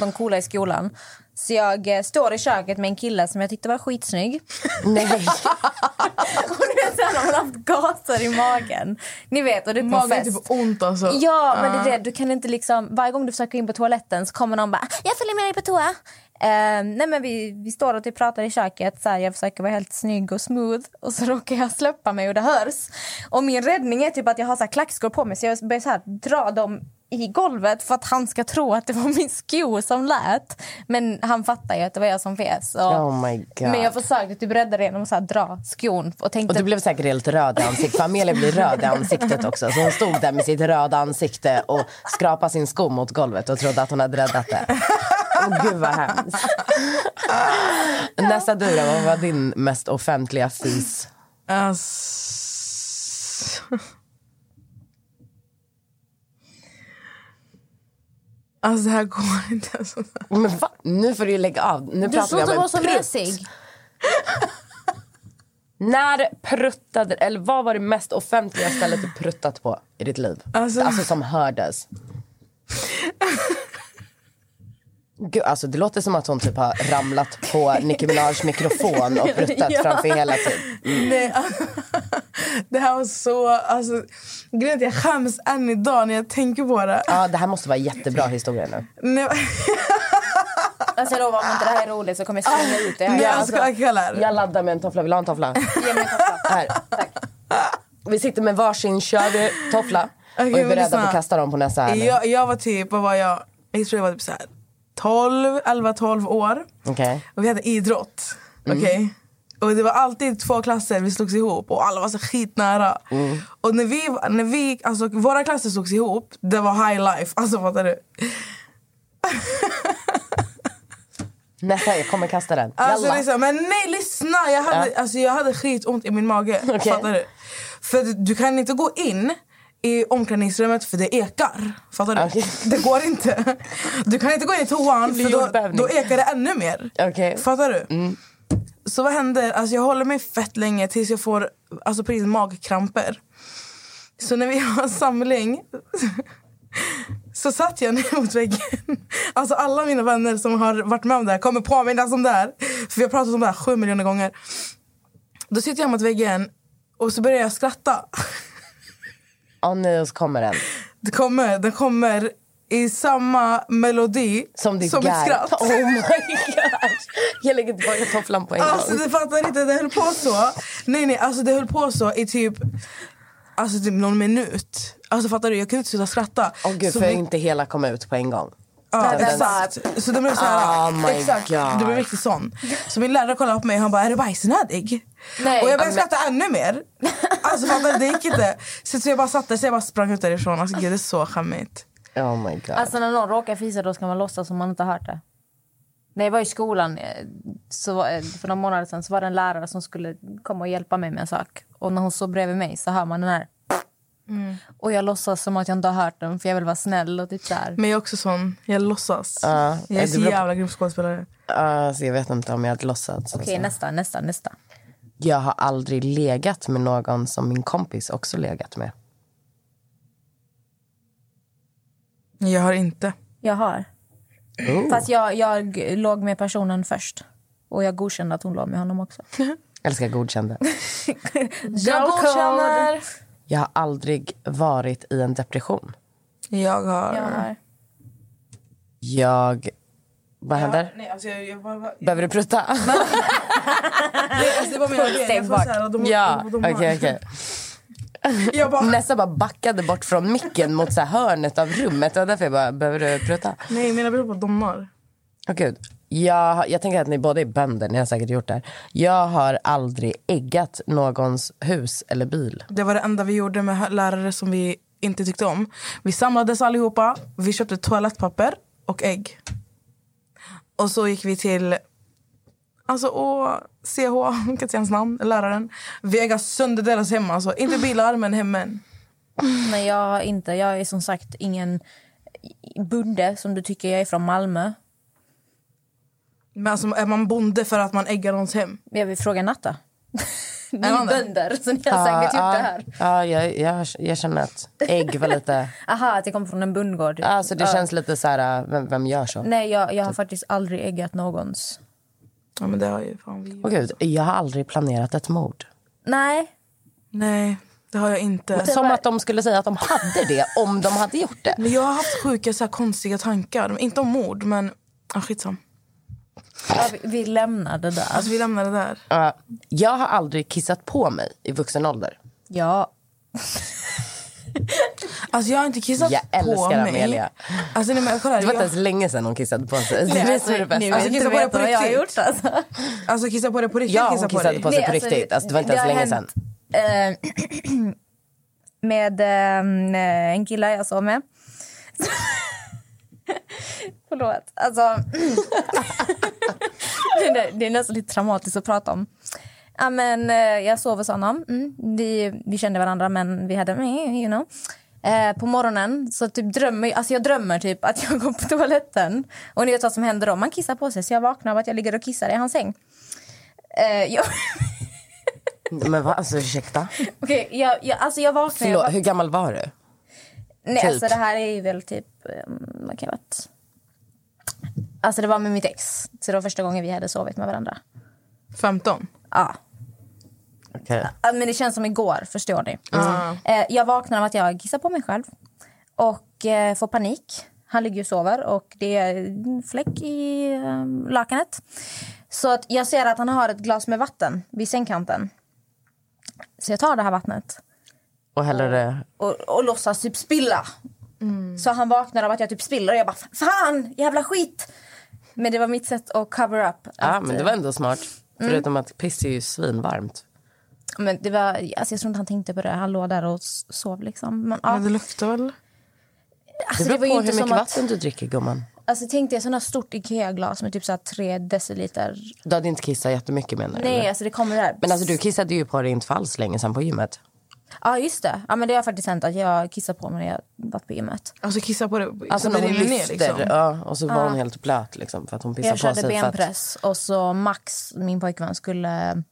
Speaker 2: de coola i skolan. Så jag eh, står i köket med en kille som jag tyckte var skitsnygg.
Speaker 3: Nej.
Speaker 2: och ni vet, så här, man har haft gaser i magen. Ni vet, och det är på en
Speaker 1: Magen är
Speaker 2: fest.
Speaker 1: typ ont alltså.
Speaker 2: Ja, men det är det. Du kan inte liksom, varje gång du försöker gå in på toaletten så kommer någon bara “jag följer med dig på toa”. Eh, nej men vi, vi står och typ pratar i köket, så här, jag försöker vara helt snygg och smooth och så råkar jag släppa mig och det hörs. Och min räddning är typ att jag har så här klackskor på mig så jag börjar så här, dra dem i golvet för att han ska tro att det var min sko som lät. Men han fattar ju att det var jag som fes. Och,
Speaker 3: Oh my God.
Speaker 2: Men jag försökte typ rädda det genom att så här, dra skon och tänkte
Speaker 3: Och du blev säkert helt röd i ansiktet. Amelia blir röd i ansiktet också. Så hon stod där med sitt röda ansikte och skrapade sin sko mot golvet och trodde att hon hade räddat det. Åh gud vad hemskt. Nästa du då, vad var din mest offentliga fis?
Speaker 1: Ass... Alltså det här går inte. Alltså.
Speaker 3: Men va? Nu får du ju lägga av. Nu
Speaker 2: du
Speaker 3: pratar
Speaker 2: såg
Speaker 3: vi
Speaker 2: att du
Speaker 3: om
Speaker 2: var
Speaker 3: en
Speaker 2: så
Speaker 3: prutt.
Speaker 2: mesig.
Speaker 3: När pruttade, eller vad var det mest offentliga stället du pruttat på i ditt liv?
Speaker 1: Alltså-
Speaker 3: Alltså, som hördes. Gud, alltså det låter som att hon typ har ramlat på Nicki Minajs mikrofon och pruttat
Speaker 2: Ja.
Speaker 3: framför hela tiden.
Speaker 1: Nej, alltså, det här var så... Alltså, grejen är att jag skäms än idag när jag tänker på det.
Speaker 3: Ja, det här måste vara en jättebra historia nu.
Speaker 1: Nej,
Speaker 2: Alltså jag lovar, om inte det här är roligt så kommer jag slänga
Speaker 3: Ah.
Speaker 2: ut det här.
Speaker 1: nej,
Speaker 2: Jag-
Speaker 1: alltså, jag kallar.
Speaker 3: Jag laddar med en toffla. Vill du ha en toffla?
Speaker 2: Ge mig en toffla.
Speaker 3: Här. Vi sitter med varsin körd toffla och
Speaker 1: Okej,
Speaker 3: är
Speaker 1: men
Speaker 3: beredda
Speaker 1: lyssna.
Speaker 3: på att kasta dem på nästa här nu.
Speaker 1: Jag, jag var typ, vad var jag? Jag tror jag var typ så här 12, 11, 12 år.
Speaker 3: Okej.
Speaker 1: Och vi hade idrott.
Speaker 3: Mm.
Speaker 1: Okej? Och det var alltid två klasser vi slogs ihop och alla var så skitnära.
Speaker 3: Mm.
Speaker 1: Och när vi, när vi, alltså våra klasser slogs ihop, det var high life. Alltså fattar du?
Speaker 3: Nästa, jag kommer kasta den.
Speaker 1: Alltså,
Speaker 3: Jalla.
Speaker 1: liksom, men nej lyssna! Jag hade, alltså, jag hade skitont i min mage.
Speaker 3: Okej.
Speaker 1: Fattar du? För du, du kan inte gå in i omklädningsrummet för det ekar. Fattar du?
Speaker 3: Okej.
Speaker 1: Det går inte. Du kan inte gå in i toan
Speaker 3: blir
Speaker 1: för då,
Speaker 3: jordbävning.
Speaker 1: då ekar det ännu mer.
Speaker 3: Okej.
Speaker 1: Fattar du?
Speaker 3: Mm.
Speaker 1: Så vad händer? Alltså, jag håller mig fett länge tills jag får alltså, precis magkramper. Så när vi har samling så satt jag ner mot väggen. Alltså alla mina vänner som har varit med om det här kommer påminnas om det här. För vi har pratat om det här sju miljoner gånger. Då sitter jag mot väggen och så börjar jag skratta.
Speaker 3: Åh nej, och så kommer den.
Speaker 1: Det kommer, den kommer i samma melodi
Speaker 3: Som ditt
Speaker 1: ett
Speaker 3: garv.
Speaker 1: skratt.
Speaker 3: Oh my gosh. Jag lägger tillbaka tofflan på en gång.
Speaker 1: Alltså du fattar inte, det höll på så. Nej nej, alltså det höll på så i typ, alltså, typ någon minut. Alltså fattar du, jag kunde inte sluta skratta.
Speaker 3: Åh gud,
Speaker 1: Så
Speaker 3: för
Speaker 1: vi-
Speaker 3: inte hela kom ut på en gång.
Speaker 1: Ja,
Speaker 3: Den-
Speaker 1: exakt. Så det blev så här,
Speaker 3: Oh my
Speaker 1: exakt.
Speaker 3: God.
Speaker 1: Det blev riktigt sån. Så min lärare kollade på mig och han bara, är du bajsnödig?
Speaker 2: Nej.
Speaker 1: och jag började skratta ännu mer. Alltså fattar du, det gick inte. Så, så jag bara satt där, så jag bara sprang ut därifrån. Alltså gud det är så skämmigt.
Speaker 3: Oh my god.
Speaker 2: Alltså när någon råkar fisa då ska man låtsas som man inte har hört det. När jag var i skolan eh, så, var- eh, för några månader sedan så var det en lärare som skulle komma och hjälpa mig med en sak. Och när hon stod bredvid mig så hör man den här. Och jag låtsas som att jag inte har hört den för jag vill vara snäll och typ så här.
Speaker 1: Men jag är också sån, jag låtsas.
Speaker 3: Ja,
Speaker 1: jag är
Speaker 3: är
Speaker 1: så
Speaker 3: du bra på-
Speaker 1: jävla grym skådespelare.
Speaker 3: Alltså, jag vet inte om jag hade låtsats.
Speaker 2: Okej,
Speaker 3: alltså.
Speaker 2: nästa, nästa, nästa.
Speaker 3: Jag har aldrig legat med någon som min kompis också legat med.
Speaker 1: Jag har inte.
Speaker 2: Jag har. Fast jag, jag låg med personen först. Och jag godkände att hon låg med honom också.
Speaker 3: Älskar godkände.
Speaker 2: Jag godkänner!
Speaker 3: Jag har aldrig varit i en depression.
Speaker 1: Jag har...
Speaker 2: Jag har.
Speaker 3: Jag... Vad händer?
Speaker 1: Nej, alltså, jag, jag bara, bara,
Speaker 3: Behöver du prutta?
Speaker 1: alltså, det var mina grejer. Jag, var så här, de,
Speaker 3: ja,
Speaker 1: de, Ah. de,
Speaker 3: okej,
Speaker 1: har-
Speaker 3: okej.
Speaker 1: jag bara,
Speaker 3: Nästa bara backade bort från micken mot så här hörnet av rummet. Det var därför jag bara, behöver du prutta?
Speaker 1: nej mina bröder bara domnar.
Speaker 3: Åh gud. Jag, jag tänker att ni båda är bönder, ni har säkert gjort det här. Jag har aldrig äggat någons hus eller bil.
Speaker 1: Det var det enda vi gjorde med hö- lärare som vi inte tyckte om. Vi samlades allihopa, vi köpte toalettpapper och ägg. Och så gick vi till alltså, och CH, jag kan inte säga hans namn, läraren. Vi äggar sönder deras hem. Alltså. Inte bilar, men hemmen.
Speaker 2: Nej, jag har inte. Jag är som sagt ingen bonde som du tycker jag är från Malmö.
Speaker 1: Men alltså, är man bonde för att man äggar någons hem?
Speaker 2: Jag vill fråga Natta. Ni är bönder, så ni har säkert gjort det här.
Speaker 3: Ja, jag, jag, jag känner att ägg var lite...
Speaker 2: Aha, att det kom från en bondgård.
Speaker 3: Alltså det känns lite så här, äh, vem, vem gör så?
Speaker 2: Nej, jag, jag har faktiskt aldrig äggat någons.
Speaker 1: Ja, men det har ju fan vi.
Speaker 3: Åh gud, jag har aldrig planerat ett mord.
Speaker 2: Nej,
Speaker 1: Nej, det har jag inte.
Speaker 3: Som att de skulle säga att de hade det om de hade gjort
Speaker 2: Mm.
Speaker 3: det.
Speaker 1: Men jag har haft sjuka så här, konstiga tankar. Inte om mord, men ah, skitsam.
Speaker 2: ja, vi, vi lämnar det där.
Speaker 1: Alltså, vi lämnar det där.
Speaker 3: Ja, jag har aldrig kissat på mig i vuxen ålder.
Speaker 2: Ja,
Speaker 1: Alltså, jag har inte kissat
Speaker 3: Jag
Speaker 1: på
Speaker 3: älskar
Speaker 1: mig.
Speaker 3: Amelia.
Speaker 1: Alltså, nej, men, kolla, här,
Speaker 3: Det var inte
Speaker 1: jag,
Speaker 3: ens länge sedan hon kissade på sig. Det är det som är det
Speaker 2: nu
Speaker 3: bästa.
Speaker 2: alltså,
Speaker 1: Alltså,
Speaker 2: inte
Speaker 1: kissa på det
Speaker 2: vet
Speaker 1: på riktigt. alltså, kissa på det på
Speaker 2: vad jag har gjort alltså.
Speaker 1: riktigt.
Speaker 3: Ja,
Speaker 1: kissa
Speaker 3: hon
Speaker 1: på
Speaker 3: kissade
Speaker 1: dig.
Speaker 3: på sig på
Speaker 2: Nej, alltså,
Speaker 3: riktigt. Alltså, det var inte
Speaker 2: det
Speaker 3: ens
Speaker 2: har
Speaker 3: länge sedan.
Speaker 2: hänt. Eh, med ehm, eh, en kille jag sov med. Förlåt. Alltså, det, där, det är nästan lite traumatiskt att prata om. Ja, men, eh, jag sov hos honom. Mm, vi, vi kände varandra, men vi hade... You know. Eh, på morgonen så typ drömmer alltså jag drömmer typ att jag går på toaletten. Och ni vet vad som händer då? Man kissar på sig, så jag vaknar av att jag ligger och kissar i hans säng. Eh, jag,
Speaker 3: Men vad, alltså ursäkta.
Speaker 2: Okej, jag, jag, alltså jag vaknar... jag
Speaker 3: Förlåt,
Speaker 2: bara-
Speaker 3: hur gammal var du?
Speaker 2: nej,
Speaker 3: typ?
Speaker 2: alltså det här är ju väl typ... ehm, Vad kan jag ha varit? Alltså det var med mitt ex. Så det var första gången vi hade sovit med varandra.
Speaker 1: 15.
Speaker 2: Ja.
Speaker 3: Okej.
Speaker 2: Ja, Men det känns som igår, förstår ni? Eh, Jag vaknar av att jag kissar på mig själv och eh, får panik. Han ligger och sover och det är en fläck i eh, lakanet. Så att jag ser att han har ett glas med vatten vid sängkanten. Så jag tar det här vattnet
Speaker 3: Och häller det...
Speaker 2: och, och låtsas typ spilla. Så han vaknar av att jag typ spiller och jag bara fan jävla skit. Men det var mitt sätt att cover up.
Speaker 3: Ja,
Speaker 2: att, mm.
Speaker 3: men det var ändå smart. Förutom att piss är ju svinvarmt.
Speaker 2: men det var alltså jag tror inte han tänkte på det. Han låg där och s- sov liksom. Men, ja,
Speaker 1: Men det luktar väl?
Speaker 2: alltså,
Speaker 3: Det
Speaker 2: det
Speaker 3: beror
Speaker 2: var ju
Speaker 3: på hur
Speaker 2: inte
Speaker 3: mycket
Speaker 2: som att,
Speaker 3: vatten du dricker, gumman.
Speaker 2: alltså tänkte jag sådana stort Ikea-glas med typ så här tre deciliter.
Speaker 3: Du hade inte kissat jättemycket menar du?
Speaker 2: Nej,
Speaker 3: eller?
Speaker 2: alltså det kommer där.
Speaker 3: Men alltså du kissade ju på dig inte för alls länge sedan på gymmet.
Speaker 2: Ja, just det. Ja, men det har faktiskt hänt att jag kissar på mig när jag varit på gymmet.
Speaker 1: Alltså kissa på det.
Speaker 3: Alltså
Speaker 1: så
Speaker 3: när
Speaker 1: det
Speaker 3: hon
Speaker 1: rinner
Speaker 3: lyfter
Speaker 1: liksom.
Speaker 3: ja, och så var hon helt blöt liksom, för att hon
Speaker 2: Jag
Speaker 3: pissade
Speaker 2: körde
Speaker 3: på sig. för att-
Speaker 2: benpress och så Max, min pojkvän, skulle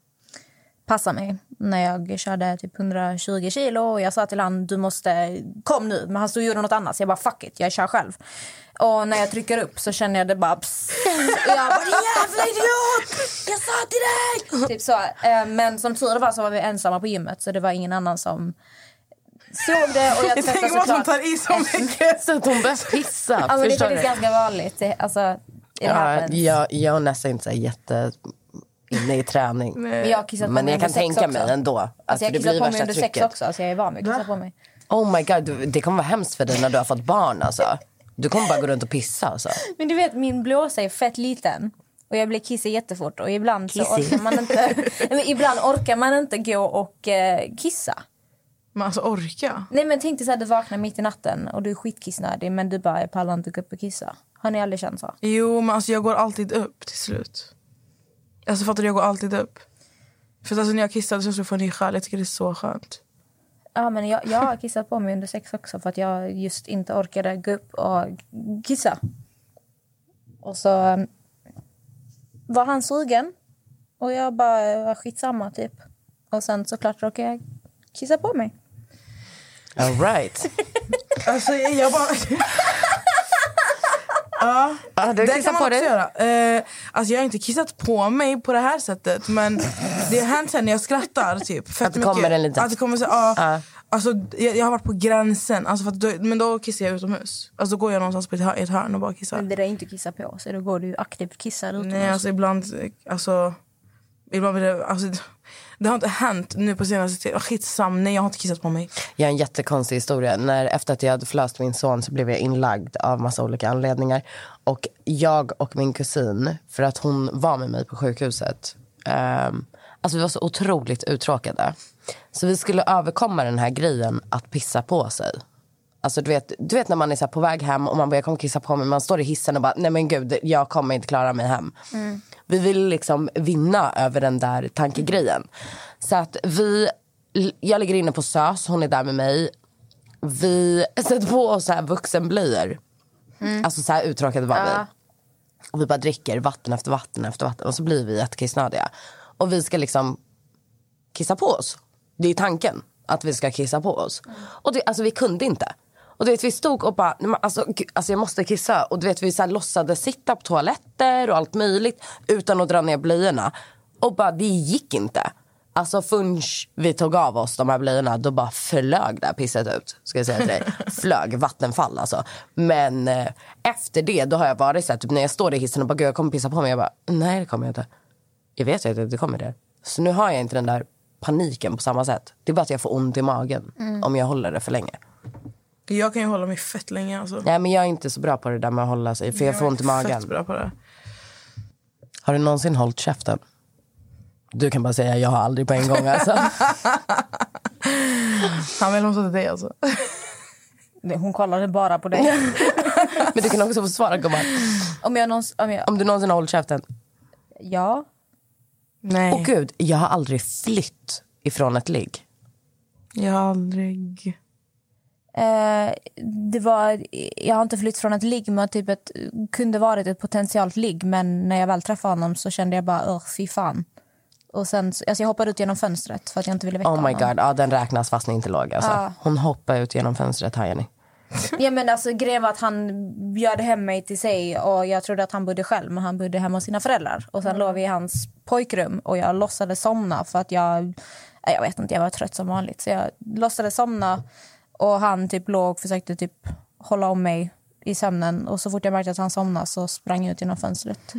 Speaker 2: passa mig när jag körde typ 120 kilo. Och jag sa till honom du måste kom nu, men han stod och gjorde något annat. Så jag bara fuck it, jag kör själv. Och när jag trycker upp så känner jag det bara pss. Och jag bara "Din jävla idiot, jag sa till dig! Typ så. Eh, Men som tur var så var vi ensamma på gymmet så det var ingen annan som såg det. Och
Speaker 1: Jag
Speaker 2: jag tvättade
Speaker 3: Alltså,
Speaker 1: tänker på att hon
Speaker 2: såklart.
Speaker 1: tar i så mycket.
Speaker 3: Så att hon började pissa.
Speaker 2: Ja, men Alltså, det är
Speaker 3: förstår du?
Speaker 2: faktiskt ganska vanligt. Det- Alltså, it
Speaker 3: Ja,
Speaker 2: happens.
Speaker 3: jag, jag och Nessa är inte så här jätte inne i träning.
Speaker 2: Men jag har kissat på
Speaker 3: Men
Speaker 2: mig
Speaker 3: jag kan
Speaker 2: under sex
Speaker 3: tänka
Speaker 2: också.
Speaker 3: mig ändå. Alltså,
Speaker 2: Alltså jag
Speaker 3: det
Speaker 2: kissar
Speaker 3: blir
Speaker 2: på mig
Speaker 3: värsta
Speaker 2: under sex
Speaker 3: trycket.
Speaker 2: också, så jag är van vid att kissa på mig.
Speaker 3: Oh my god, du, det kommer vara hemskt för dig när du har fått barn alltså. Du kommer bara gå runt och pissa alltså.
Speaker 2: Men du vet, min blåsa är fett liten. Och jag blir kissig jättefort och ibland så
Speaker 3: Kissig.
Speaker 2: orkar man inte, men ibland orkar man inte gå och eh, kissa.
Speaker 1: Men alltså orka.
Speaker 2: Nej men tänk dig så här, du vaknar mitt i natten och du är skitkissnödig men du bara jag pallar inte gå upp och kissa. Har ni aldrig känt så?
Speaker 1: Jo, men alltså jag går alltid upp till slut. Alltså fattar du, jag går alltid upp. För att alltså, när jag kissade så får jag ny själ. Jag tycker det är så skönt.
Speaker 2: Ja men jag, jag har kissat på mig under sex också för att jag just inte orkade gå upp och kissa. Och så eh, var han sugen och jag bara "Ja, skitsamma typ. Och sen såklart råkade jag kissa på mig.
Speaker 3: All right.
Speaker 1: Alltså jag bara... ja,
Speaker 3: Ja, du
Speaker 1: det
Speaker 3: kissar
Speaker 1: kan man
Speaker 3: på
Speaker 1: också
Speaker 3: dig.
Speaker 1: göra. Eh, alltså jag har inte kissat på mig på det här sättet men det har hänt sen när jag skrattar typ. Fett
Speaker 3: Att det kommer en liten-
Speaker 1: Att det kommer så, ja.
Speaker 3: Ja.
Speaker 1: Alltså jag, jag har varit på gränsen. Alltså, för att då, men då kissar jag utomhus. Alltså då går jag någonstans på ett, hör- ett hörn och bara kissar.
Speaker 2: Men det där är inte att kissa på så då går du ju aktivt kissar utomhus.
Speaker 3: Mm.
Speaker 1: Nej, alltså ibland... Alltså, ibland blir det, alltså, det har inte hänt nu på senaste tiden. Skitsam, nej jag har inte kissat på mig.
Speaker 3: Jag har en jättekonstig historia. När, efter att jag hade förlöst min son så blev jag inlagd av massa olika anledningar. Och jag och min kusin, för att hon var med mig på sjukhuset. ehm, alltså vi var så otroligt uttråkade. Så vi skulle överkomma den här grejen att pissa på sig. Alltså du vet, du vet när man är så här på väg hem och man bara jag kommer kissa på mig. Man står i hissen och bara nej men gud jag kommer inte klara mig hem. Vi vill liksom vinna över den där tankegrejen. Så att vi, jag ligger inne på SÖS, hon är där med mig. Vi sätter på oss så här vuxenblöjor. Alltså så här uttråkade var vi. Och vi bara dricker vatten efter vatten efter vatten och så blir vi jättekissnödiga. Och vi ska liksom kissa på oss. Det är tanken att vi ska kissa på oss. Och det, alltså vi kunde inte. Och du vet, vi stod och bara, nej, men alltså, gud, alltså jag måste kissa. Och du vet, vi så här låtsades sitta på toaletter och allt möjligt utan att dra ner blöjorna. Och bara, det gick inte. Alltså förrän vi tog av oss de här blöjorna, då bara flög det här pisset ut. Ska jag säga till dig. flög, vattenfall alltså. Men eh, efter det, då har jag varit så här, typ när jag står i hissen och bara, gud jag kommer pissa på mig. Jag bara, nej det kommer jag inte. Jag vet ju att det kommer det. Så nu har jag inte den där paniken på samma sätt. Det är bara att jag får ont i magen om jag håller det för länge.
Speaker 1: Jag kan ju hålla mig fett länge. Alltså.
Speaker 3: Nej, men jag är inte så bra på det där med att hålla sig, för jag, får ont i
Speaker 1: Fett
Speaker 3: magen.
Speaker 1: bra på det.
Speaker 3: Har du någonsin hållit käften? Du kan bara säga jag har aldrig på en gång. Alltså.
Speaker 1: Han vill hosta till dig alltså.
Speaker 2: Hon kollade bara på dig.
Speaker 3: men du kan också få svara, gumman.
Speaker 2: om jag någons, om jag,
Speaker 3: Om du någonsin har hållit käften.
Speaker 2: ja.
Speaker 1: Nej.
Speaker 3: Åh gud, jag har aldrig flytt ifrån ett ligg.
Speaker 1: Jag har aldrig...
Speaker 2: Eh, det var, jag har inte flytt från ett ligg, men typ ett, kunde varit ett potentiellt ligg. Men när jag väl träffade honom så kände jag bara, "Ugh, fy fan. Och sen, så- alltså jag hoppade ut genom fönstret för att jag inte ville väcka
Speaker 3: Oh my
Speaker 2: honom.
Speaker 3: god, ja, den räknas fast ni inte låg. Alltså.
Speaker 2: Ja.
Speaker 3: Hon hoppade ut genom fönstret, här Jenny.
Speaker 2: Ja, men alltså, grejen var att han bjöd hem mig till sig och jag trodde att han bodde själv men han bodde hemma hos sina föräldrar. Och sen låg vi i hans pojkrum och jag låtsades somna för att jag, nej, jag vet inte, jag var trött som vanligt. Så jag låtsades somna och han typ låg och försökte typ hålla om mig i sömnen och så fort jag märkte att han somnade så sprang jag ut genom fönstret.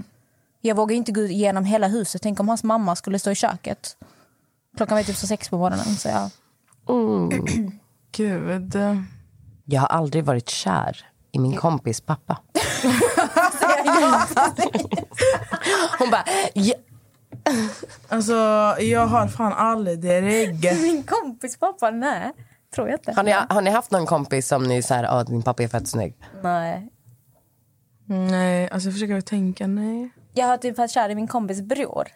Speaker 2: Jag vågade inte gå igenom hela huset. Tänk om hans mamma skulle stå i köket. Klockan var typ så sex på morgonen. Så jag...
Speaker 1: Gud.
Speaker 3: Jag har aldrig varit kär i min kompis pappa. Hon bara, "Ja,
Speaker 1: Alltså, jag har fan aldrig...
Speaker 2: Min kompis pappa, nej. Tror jag inte.
Speaker 3: har, ni, har ni haft någon kompis som ni så här, "Ah, din pappa är fett snygg?
Speaker 2: Nej.
Speaker 1: Nej, alltså jag försöker tänka. Nej.
Speaker 2: Jag har typ varit kär i min kompis bror.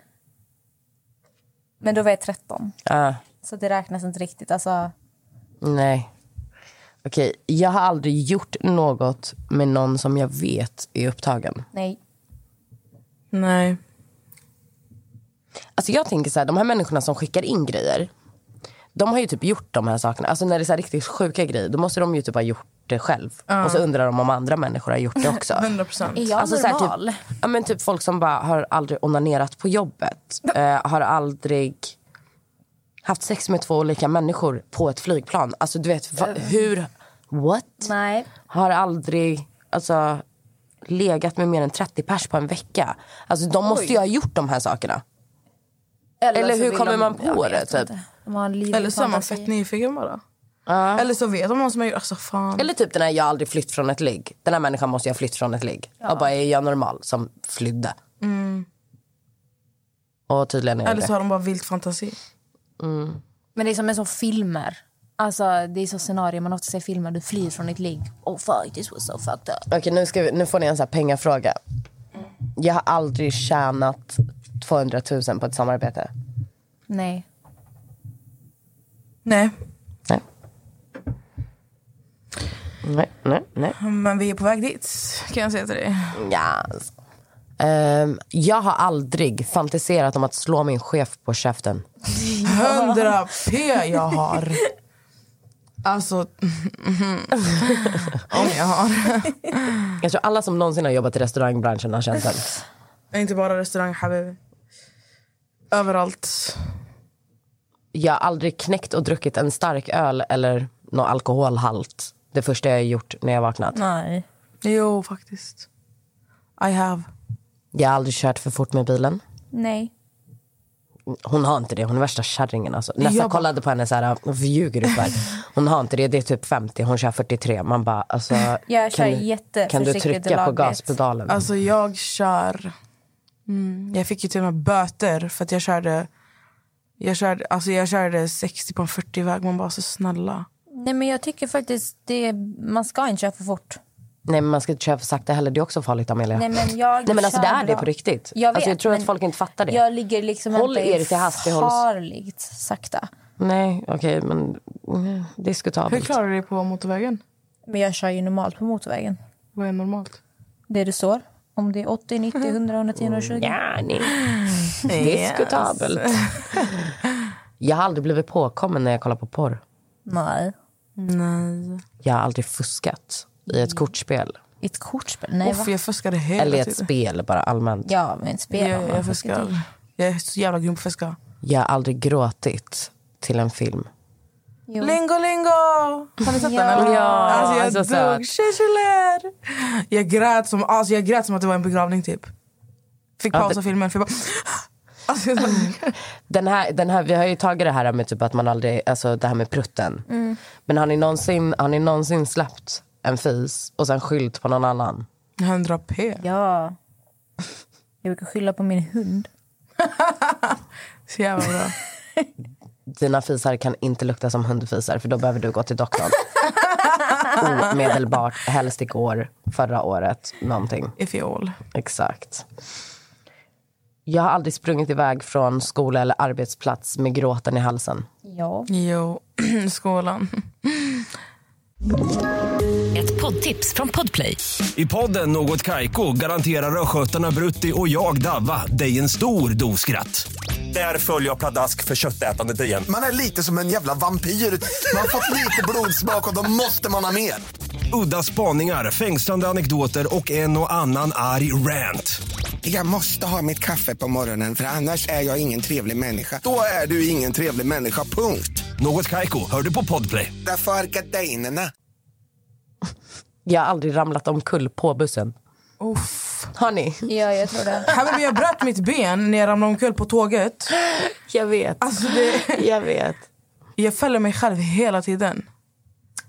Speaker 2: Men då var jag 13,
Speaker 3: Ah,
Speaker 2: så det räknas inte riktigt. Alltså,
Speaker 3: nej. Okej, jag har aldrig gjort något med någon som jag vet är upptagen.
Speaker 2: nej.
Speaker 1: Nej.
Speaker 3: Alltså jag tänker så här, de här människorna som skickar in grejer. De har ju typ gjort de här sakerna. Alltså när det är så här riktigt sjuka grejer, då måste de ju typ ha gjort det själv. Och så undrar de om andra människor har gjort det också.
Speaker 1: 100 procent.
Speaker 2: Är jag
Speaker 3: så här,
Speaker 2: normal?
Speaker 3: typ, ja, men typ folk som bara har aldrig onanerat på jobbet. Eh, har aldrig haft sex med två olika människor på ett flygplan. Alltså du vet, va, hur... What?
Speaker 2: Nej.
Speaker 3: Har aldrig alltså, legat med mer än 30 pers på en vecka. Alltså de måste ju ha gjort de här sakerna. Eller
Speaker 2: så
Speaker 3: hur
Speaker 2: vill
Speaker 3: kommer
Speaker 2: de-
Speaker 3: man på
Speaker 2: jag vet
Speaker 3: det,
Speaker 2: inte. De typ? har en livlig
Speaker 1: Eller så är man
Speaker 2: fantasi.
Speaker 1: fett nyfiken bara. Eller så vet man någon som har gjort... Alltså fan.
Speaker 3: Eller typ den här jag har aldrig flytt från ett ligg. Den här människan måste ju ha flytt från ett ligg. Och bara, är jag normal som flydde? Och tydligen är jag
Speaker 1: Eller
Speaker 3: det.
Speaker 1: så har de bara vilt fantasi.
Speaker 2: Men det är som en sån filmer. Alltså, det är så scenario man ofta ser i filmer. Du flyr från ditt ligg. Oh fuck, this was so fucked up.
Speaker 3: Okej, nu, ska vi, nu får ni en sån här pengafråga. Jag har aldrig tjänat 200 000 på ett samarbete.
Speaker 2: Nej.
Speaker 1: Nej,
Speaker 3: Nej. Nej, nej, nej.
Speaker 1: men vi är på väg dit kan jag säga till dig.
Speaker 3: Yes. alltså. Ehm, jag har aldrig fantiserat om att slå min chef på käften.
Speaker 1: 100 p jag har. Alltså, om jag har.
Speaker 3: Jag tror alla som någonsin har jobbat i restaurangbranschen har känt den.
Speaker 1: Inte bara restaurang habibi. Överallt.
Speaker 3: Jag har aldrig knäckt och druckit en stark öl eller någon alkoholhalt. Det första jag har gjort när jag vaknat.
Speaker 2: Nej.
Speaker 1: Jo, faktiskt. I have.
Speaker 3: Jag har aldrig kört för fort med bilen.
Speaker 2: Nej.
Speaker 3: Hon har inte det, hon är värsta kärringen alltså. Nästan
Speaker 1: Jag bara-
Speaker 3: kollade på henne så här, varför ljuger du för? Hon har inte det, det är typ 50, hon kör 43. Man bara, alltså,
Speaker 2: Jag kör
Speaker 3: du-
Speaker 2: jätteförsiktigt
Speaker 3: Kan du
Speaker 2: och
Speaker 3: trycka på
Speaker 2: lagligt.
Speaker 3: gaspedalen?
Speaker 1: Alltså jag kör... Mm, jag fick ju till och med böter för att jag körde... Jag körde, alltså jag körde 60 på en 40-väg. Man bara, så snälla.
Speaker 2: Nej, men jag tycker faktiskt det... Man ska inte köra för fort.
Speaker 3: Nej men man ska inte köra för sakta heller, det är också farligt Amelia.
Speaker 2: Nej, men jag
Speaker 3: Nej, men alltså,
Speaker 2: kör
Speaker 3: det är det
Speaker 2: bra.
Speaker 3: på riktigt.
Speaker 2: Jag vet,
Speaker 3: Alltså, jag tror att
Speaker 2: men
Speaker 3: folk inte fattar det.
Speaker 2: Jag ligger liksom
Speaker 3: Håll
Speaker 2: inte
Speaker 3: er till hastighålls-
Speaker 2: farligt sakta.
Speaker 3: Nej okej men mm,
Speaker 1: Hur
Speaker 3: diskutabelt.
Speaker 1: klarar du dig på motorvägen?
Speaker 2: Men jag kör ju normalt på motorvägen.
Speaker 1: Vad är normalt?
Speaker 2: Det du står. Om det är 80, 90, 100, 110, 120.
Speaker 3: Ja, nej. Diskutabelt. Jag har aldrig blivit påkommen när jag kollar på porr.
Speaker 2: Nej.
Speaker 1: Nej.
Speaker 3: Jag har aldrig fuskat i
Speaker 2: Mm.
Speaker 3: ett kortspel.
Speaker 2: I ett kortspel? Nej,
Speaker 1: Uff,
Speaker 2: va?
Speaker 1: jag fuskade hela
Speaker 3: Eller i ett
Speaker 1: tiden.
Speaker 3: spel bara allmänt.
Speaker 2: Ja, men spel.
Speaker 1: Jag, jag fuskar. Jag är så jävla grym på att fuska.
Speaker 3: Jag har aldrig gråtit till en film.
Speaker 2: Jo.
Speaker 1: Lingo, lingo! Har ni sett
Speaker 2: Ja.
Speaker 1: den? eller?
Speaker 3: Ja,
Speaker 1: alltså, jag
Speaker 3: så söt.
Speaker 1: dog. Känslor! Jag, grät som- alltså, jag grät som att det var en begravning, typ. Fick
Speaker 3: Ja,
Speaker 1: pausa filmen, för jag bara... Alltså, jag
Speaker 3: Den här, den här, vi har ju tagit det här med typ att man aldrig, alltså det här med prutten. Men har ni, någonsin, har ni någonsin släppt en fis och sen skyllt på någon annan?
Speaker 1: 100 p.
Speaker 2: Ja. Jag brukar skylla på min hund.
Speaker 1: Så jävla bra.
Speaker 3: Dina fisar kan inte lukta som hundfisar för då behöver du gå till doktorn. Omedelbart, helst igår, förra året, någonting.
Speaker 1: If you all.
Speaker 3: Exakt. Jag har aldrig sprungit iväg från skola eller arbetsplats med gråten i halsen.
Speaker 2: Ja.
Speaker 1: Jo, skolan.
Speaker 5: Ett poddtips från Podplay.
Speaker 6: I podden Något Kaiko garanterar östgötarna Brutti och jag, Davva, dig en stor dos skratt. Där följer jag pladask för köttätandet igen.
Speaker 7: Man är lite som en jävla vampyr. Man har fått lite blodsmak och då måste man ha mer.
Speaker 6: Udda spaningar, fängslande anekdoter och en och annan arg rant.
Speaker 7: Jag måste ha mitt kaffe på morgonen för annars är jag ingen trevlig människa. Då är du ingen trevlig människa, punkt.
Speaker 6: Något Kaiko, hör du på Podplay.
Speaker 7: Därför arkadeinerna.
Speaker 3: Jag har aldrig ramlat omkull på bussen.
Speaker 1: Uff.
Speaker 3: Har ni?
Speaker 2: ja, jag tror det.
Speaker 1: Här var jag bröt mitt ben när jag ramlade omkull på tåget.
Speaker 3: Jag vet.
Speaker 1: Alltså, det,
Speaker 3: Jag vet.
Speaker 1: jag fäller mig själv hela tiden.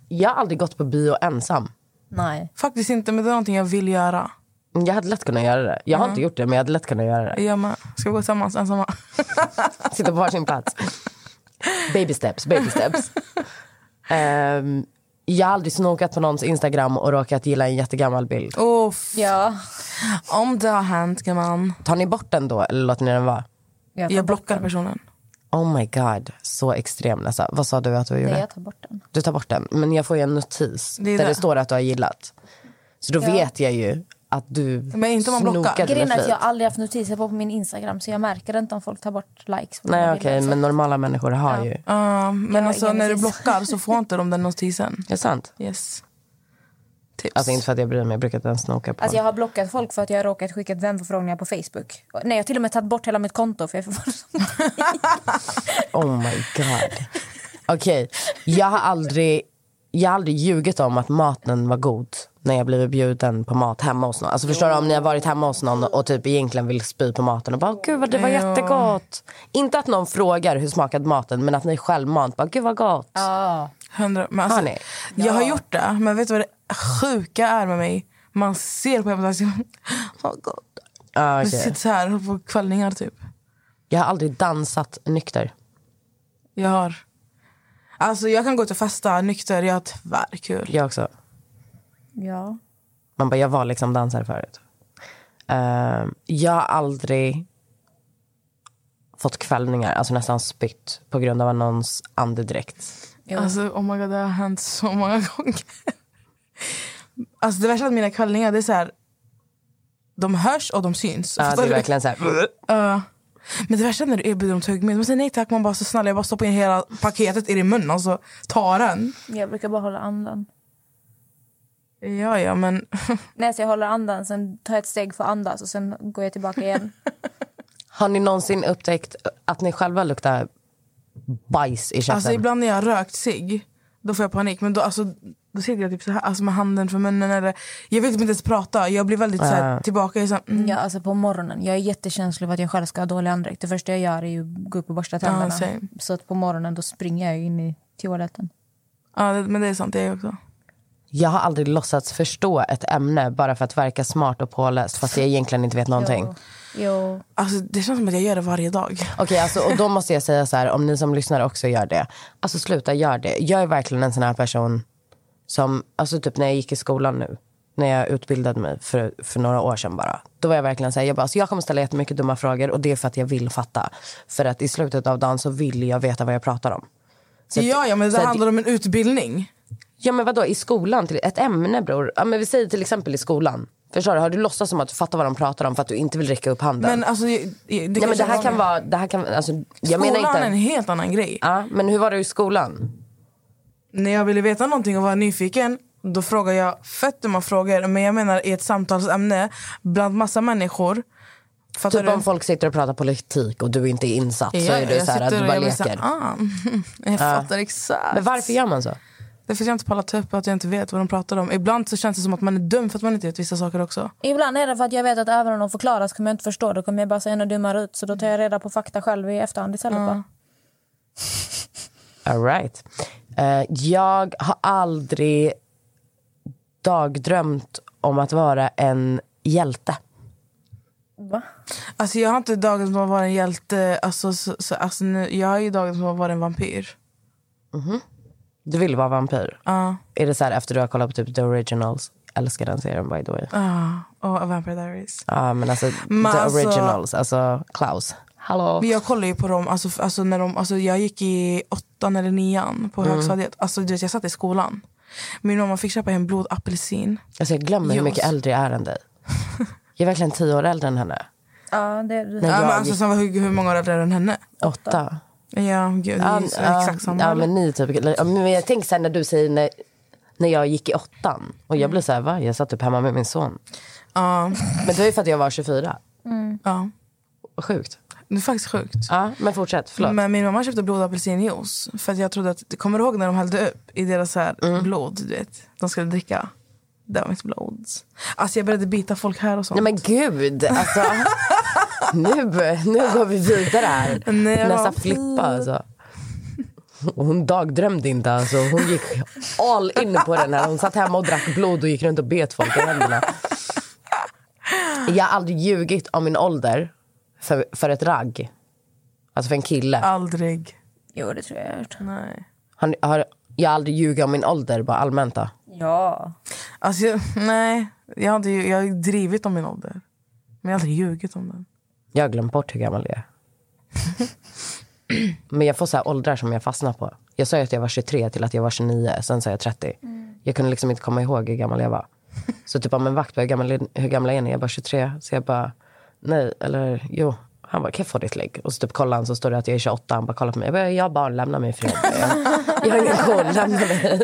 Speaker 3: Jag har aldrig gått på bio ensam.
Speaker 2: Nej.
Speaker 1: Faktiskt inte, men det är någonting jag vill göra.
Speaker 3: Jag hade lätt kunnat göra det. Jag har inte gjort det, men jag hade lätt kunnat göra det.
Speaker 1: Jag med. Ska vi gå tillsammans ensamma?
Speaker 3: Sitta på varsin plats. Baby steps, baby steps. Ehm, jag har aldrig snokat på någons Instagram och råkat gilla en jättegammal bild.
Speaker 1: Uff.
Speaker 2: Ja.
Speaker 1: Om det har hänt, gumman.
Speaker 3: Tar ni bort den då, eller låter ni den vara?
Speaker 2: Jag tar
Speaker 1: Jag
Speaker 2: bort
Speaker 1: blockar personen.
Speaker 3: Oh my god, så extrem nästan. Vad sa du att du
Speaker 2: den.
Speaker 3: gjorde?
Speaker 2: Nej, jag tar bort den.
Speaker 3: Du tar bort den, men jag får ju en notis
Speaker 1: Det är
Speaker 3: där
Speaker 1: det.
Speaker 3: det står att du har gillat. Så då vet jag ju att du
Speaker 1: Men inte om man blockar.
Speaker 3: snokade med
Speaker 2: Grejen är att
Speaker 3: flit.
Speaker 2: jag aldrig haft notiser på, på min Instagram så jag märker inte om folk tar bort likes. På mina
Speaker 3: Nej okej,
Speaker 2: bilder, så-
Speaker 3: men normala människor har ju.
Speaker 1: Ja, men
Speaker 2: har
Speaker 1: alltså,
Speaker 2: ingen
Speaker 1: när du
Speaker 2: notis.
Speaker 1: blockar så får inte de den notisen.
Speaker 3: Är det sant?
Speaker 1: Yes. Tips.
Speaker 3: Alltså inte för att jag bryr mig, jag brukar inte ens snoka på
Speaker 2: Alltså
Speaker 3: dem.
Speaker 2: jag har blockat folk för att jag har råkat skicka vänförfrågningar på Facebook. Och- Nej, jag har till och med tagit bort hela mitt konto för jag är förbannad.
Speaker 3: Oh my god. Okej, jag har aldrig jag har aldrig ljugit om att maten var god när jag blivit bjuden på mat hemma hos någon. Alltså förstår du om ni har varit hemma hos någon och typ egentligen vill spy på maten och bara gud vad det var jättegott. Inte att någon frågar hur smakade maten men att ni självmant bara gud vad gott.
Speaker 1: Hundra, men alltså,
Speaker 3: Har ni?
Speaker 1: Jag har gjort det, men vet du vad det sjuka är med mig? Man ser på hemsidan liksom, oh God.
Speaker 3: Ah,
Speaker 1: Jag
Speaker 3: okej.
Speaker 1: sitter så här på kvällningar typ.
Speaker 3: Jag har aldrig dansat nykter.
Speaker 1: Jag har... Alltså jag kan gå ut och festa nykter, jag har tyvärr kul.
Speaker 3: Jag också.
Speaker 2: Ja.
Speaker 3: Man bara, jag var liksom dansare förut. Eh, jag har aldrig fått kvällningar, alltså nästan spytt på grund av någons andedräkt.
Speaker 1: Alltså oh my god, det har hänt så många gånger. Alltså det värsta med mina kvällningar, det är så här... De hörs och de syns.
Speaker 3: Ja,
Speaker 1: Fattar
Speaker 3: det är
Speaker 1: du?
Speaker 3: verkligen så här.
Speaker 1: Ja. men det värsta är när du erbjuder dem tuggummi. Man säger nej tack, man bara så snälla jag bara stoppar in hela paketet i din mun och så tar den.
Speaker 2: Jag brukar bara hålla andan.
Speaker 1: Ja, ja men
Speaker 2: Nej, så jag håller andan, sen tar jag ett steg för att andas och sen går jag tillbaka igen.
Speaker 3: Mm. Har ni någonsin upptäckt att ni själva luktar bajs i käften?
Speaker 1: Alltså ibland när jag har rökt sig då får jag panik. Men då, alltså, då sitter jag typ så här, alltså med handen för munnen. Eller, jag vill typ inte ens prata. Jag blir väldigt så här, tillbaka. Jag är så här, mm,
Speaker 2: Ja, alltså på morgonen. Jag är jättekänslig för att jag själv ska ha dålig andedräkt. Det första jag gör är ju att gå upp och borsta tänderna.
Speaker 1: same.
Speaker 2: så att på morgonen då springer jag in i toaletten.
Speaker 1: ja, det, men det är sant, det är jag också.
Speaker 3: Jag har aldrig låtsats förstå ett ämne bara för att verka smart och påläst fast jag egentligen inte vet någonting.
Speaker 2: Jo.
Speaker 1: Alltså, det känns som att jag gör det varje dag.
Speaker 3: Okej, alltså, och då måste jag säga så här, om ni som lyssnar också gör det. Alltså sluta, gör det. Jag är verkligen en sån här person som, alltså typ när jag gick i skolan nu, när jag utbildade mig för, för några år sedan bara. Då var jag verkligen så här, jag bara, alltså, jag kommer ställa jättemycket dumma frågor och det är för att jag vill fatta. För att i slutet av dagen så vill jag veta vad jag pratar om. Så att-
Speaker 1: ja, ja, men
Speaker 3: så
Speaker 1: det
Speaker 3: att-
Speaker 1: handlar om en utbildning.
Speaker 3: Ja men vadå, i skolan, till ett ämne bror. Ja, men vi säger till exempel i skolan. Förstår du? Har du låtsats som att du fattar vad de pratar om för att du inte vill räcka upp handen?
Speaker 1: Men alltså... Det, det,
Speaker 3: Nej, men
Speaker 1: kanske
Speaker 3: det här
Speaker 1: var-
Speaker 3: kan vara... Det här kan, alltså, jag menar
Speaker 1: Skolan är en
Speaker 3: inte...
Speaker 1: helt annan grej.
Speaker 3: Ja, men hur var det i skolan?
Speaker 1: När jag ville veta någonting och var nyfiken då frågar jag fett dumma frågor men jag menar i ett samtalsämne bland massa människor. Fattar
Speaker 3: Typ
Speaker 1: du?
Speaker 3: om folk sitter och pratar politik och du inte är insatt så
Speaker 1: Ja,
Speaker 3: är du
Speaker 1: jag
Speaker 3: så här att
Speaker 1: sitter
Speaker 3: du
Speaker 1: och
Speaker 3: bara
Speaker 1: jag blir så
Speaker 3: leker.
Speaker 1: här, ah, jag fattar exakt.
Speaker 3: Men varför gör man så?
Speaker 1: Det är för att jag inte pallar ta upp att jag inte vet vad de pratar om. Ibland så känns det som att man är dum för att man inte vet vissa saker också.
Speaker 2: Ibland är det för att jag vet att även om de förklarar så kommer jag inte förstå. Då kommer jag bara se ännu dummare ut. Så då tar jag reda på fakta själv i efterhand istället. bara.
Speaker 3: All right. Eh, jag har aldrig dagdrömt om att vara en hjälte.
Speaker 2: Va?
Speaker 1: Alltså jag har inte dagen som har varit en hjälte. Alltså, så, så, alltså nu, jag har ju dagen som har varit en vampyr.
Speaker 3: Du vill vara vampyr.
Speaker 1: Ja.
Speaker 3: Är det så här efter du har kollat på typ The Originals? Älskar den serien by the way. Ja,
Speaker 1: Ah, och A Vampire Diaries.
Speaker 3: men alltså
Speaker 1: Men
Speaker 3: The
Speaker 1: alltså-
Speaker 3: Originals, alltså Klaus. Hallå.
Speaker 1: Men jag kollar ju på dem, alltså, f- alltså när de, alltså jag gick i åttan eller nian på
Speaker 3: Mm.
Speaker 1: högstadiet. Alltså du vet jag satt i skolan. Min mamma fick köpa en blodapelsin.
Speaker 3: Alltså, jag glömmer hur
Speaker 1: Jos.
Speaker 3: mycket äldre jag är än dig. Jag är verkligen tio år äldre än henne.
Speaker 2: Ja, det,
Speaker 3: Nej,
Speaker 1: Ja,
Speaker 3: jag
Speaker 1: men alltså, som var hur, hur många år äldre än henne?
Speaker 3: Åtta.
Speaker 1: Ja, gud, det är ju så
Speaker 3: ja,
Speaker 1: exakt samma.
Speaker 3: Ja,
Speaker 1: eller?
Speaker 3: men ni typ. ja, Men jag tänker sen när du säger när, när jag gick i åttan. Och
Speaker 1: Mm.
Speaker 3: jag blev så här, va? Jag satt upp hemma med min son.
Speaker 1: Ja,
Speaker 3: Men det var ju för att jag var 24.
Speaker 1: ja.
Speaker 3: Sjukt.
Speaker 1: Det är faktiskt sjukt.
Speaker 3: Ja, men fortsätt. Förlåt.
Speaker 1: Men min mamma köpte blodapelsinjuice. För att jag trodde att, kommer du ihåg när de hällde upp i deras så här blod? Du vet, de skulle dricka. Det var mitt blod. Alltså jag började bita folk här och sånt.
Speaker 3: Nej men gud. Alltså, nu, nu går vi vidare här.
Speaker 1: Nej, jag
Speaker 3: Nästa
Speaker 1: var-
Speaker 3: flippa alltså. Hon dagdrömde inte alltså. Hon gick all in på den här. Hon satt hemma och drack blod och gick runt och bet folk i händerna. Jag har aldrig ljugit om min ålder för, för ett ragg. Alltså för en kille.
Speaker 1: Aldrig.
Speaker 2: jo, det tror jag jag har gjort.
Speaker 1: Nej.
Speaker 3: Har, ni- har, jag har aldrig ljugit om min ålder bara allmänt då.
Speaker 2: Ja.
Speaker 1: Alltså jag, nej. Jag har, inte, ju- jag har ju drivit om min ålder. Men jag har aldrig ljugit om den.
Speaker 3: Jag har glömt bort hur gammal jag är. Men jag får så här åldrar som jag fastnar på. Jag sa ju att jag var 23 till att jag var 29, sen sa jag 30. Jag kunde liksom inte komma ihåg hur gammal jag var. Så typ, om en vakt bara, hur gammal, är- hur gammal är ni? Jag bara 23. Så jag bara, nej, eller jo. Han bara, kan jag få ditt lägg? Och så typ kollar han så står det att jag är 28. Han bara kollar på mig. Jag bara, jag har barn, lämna mig i fred. Jag, jag har ingen koll, lämna mig.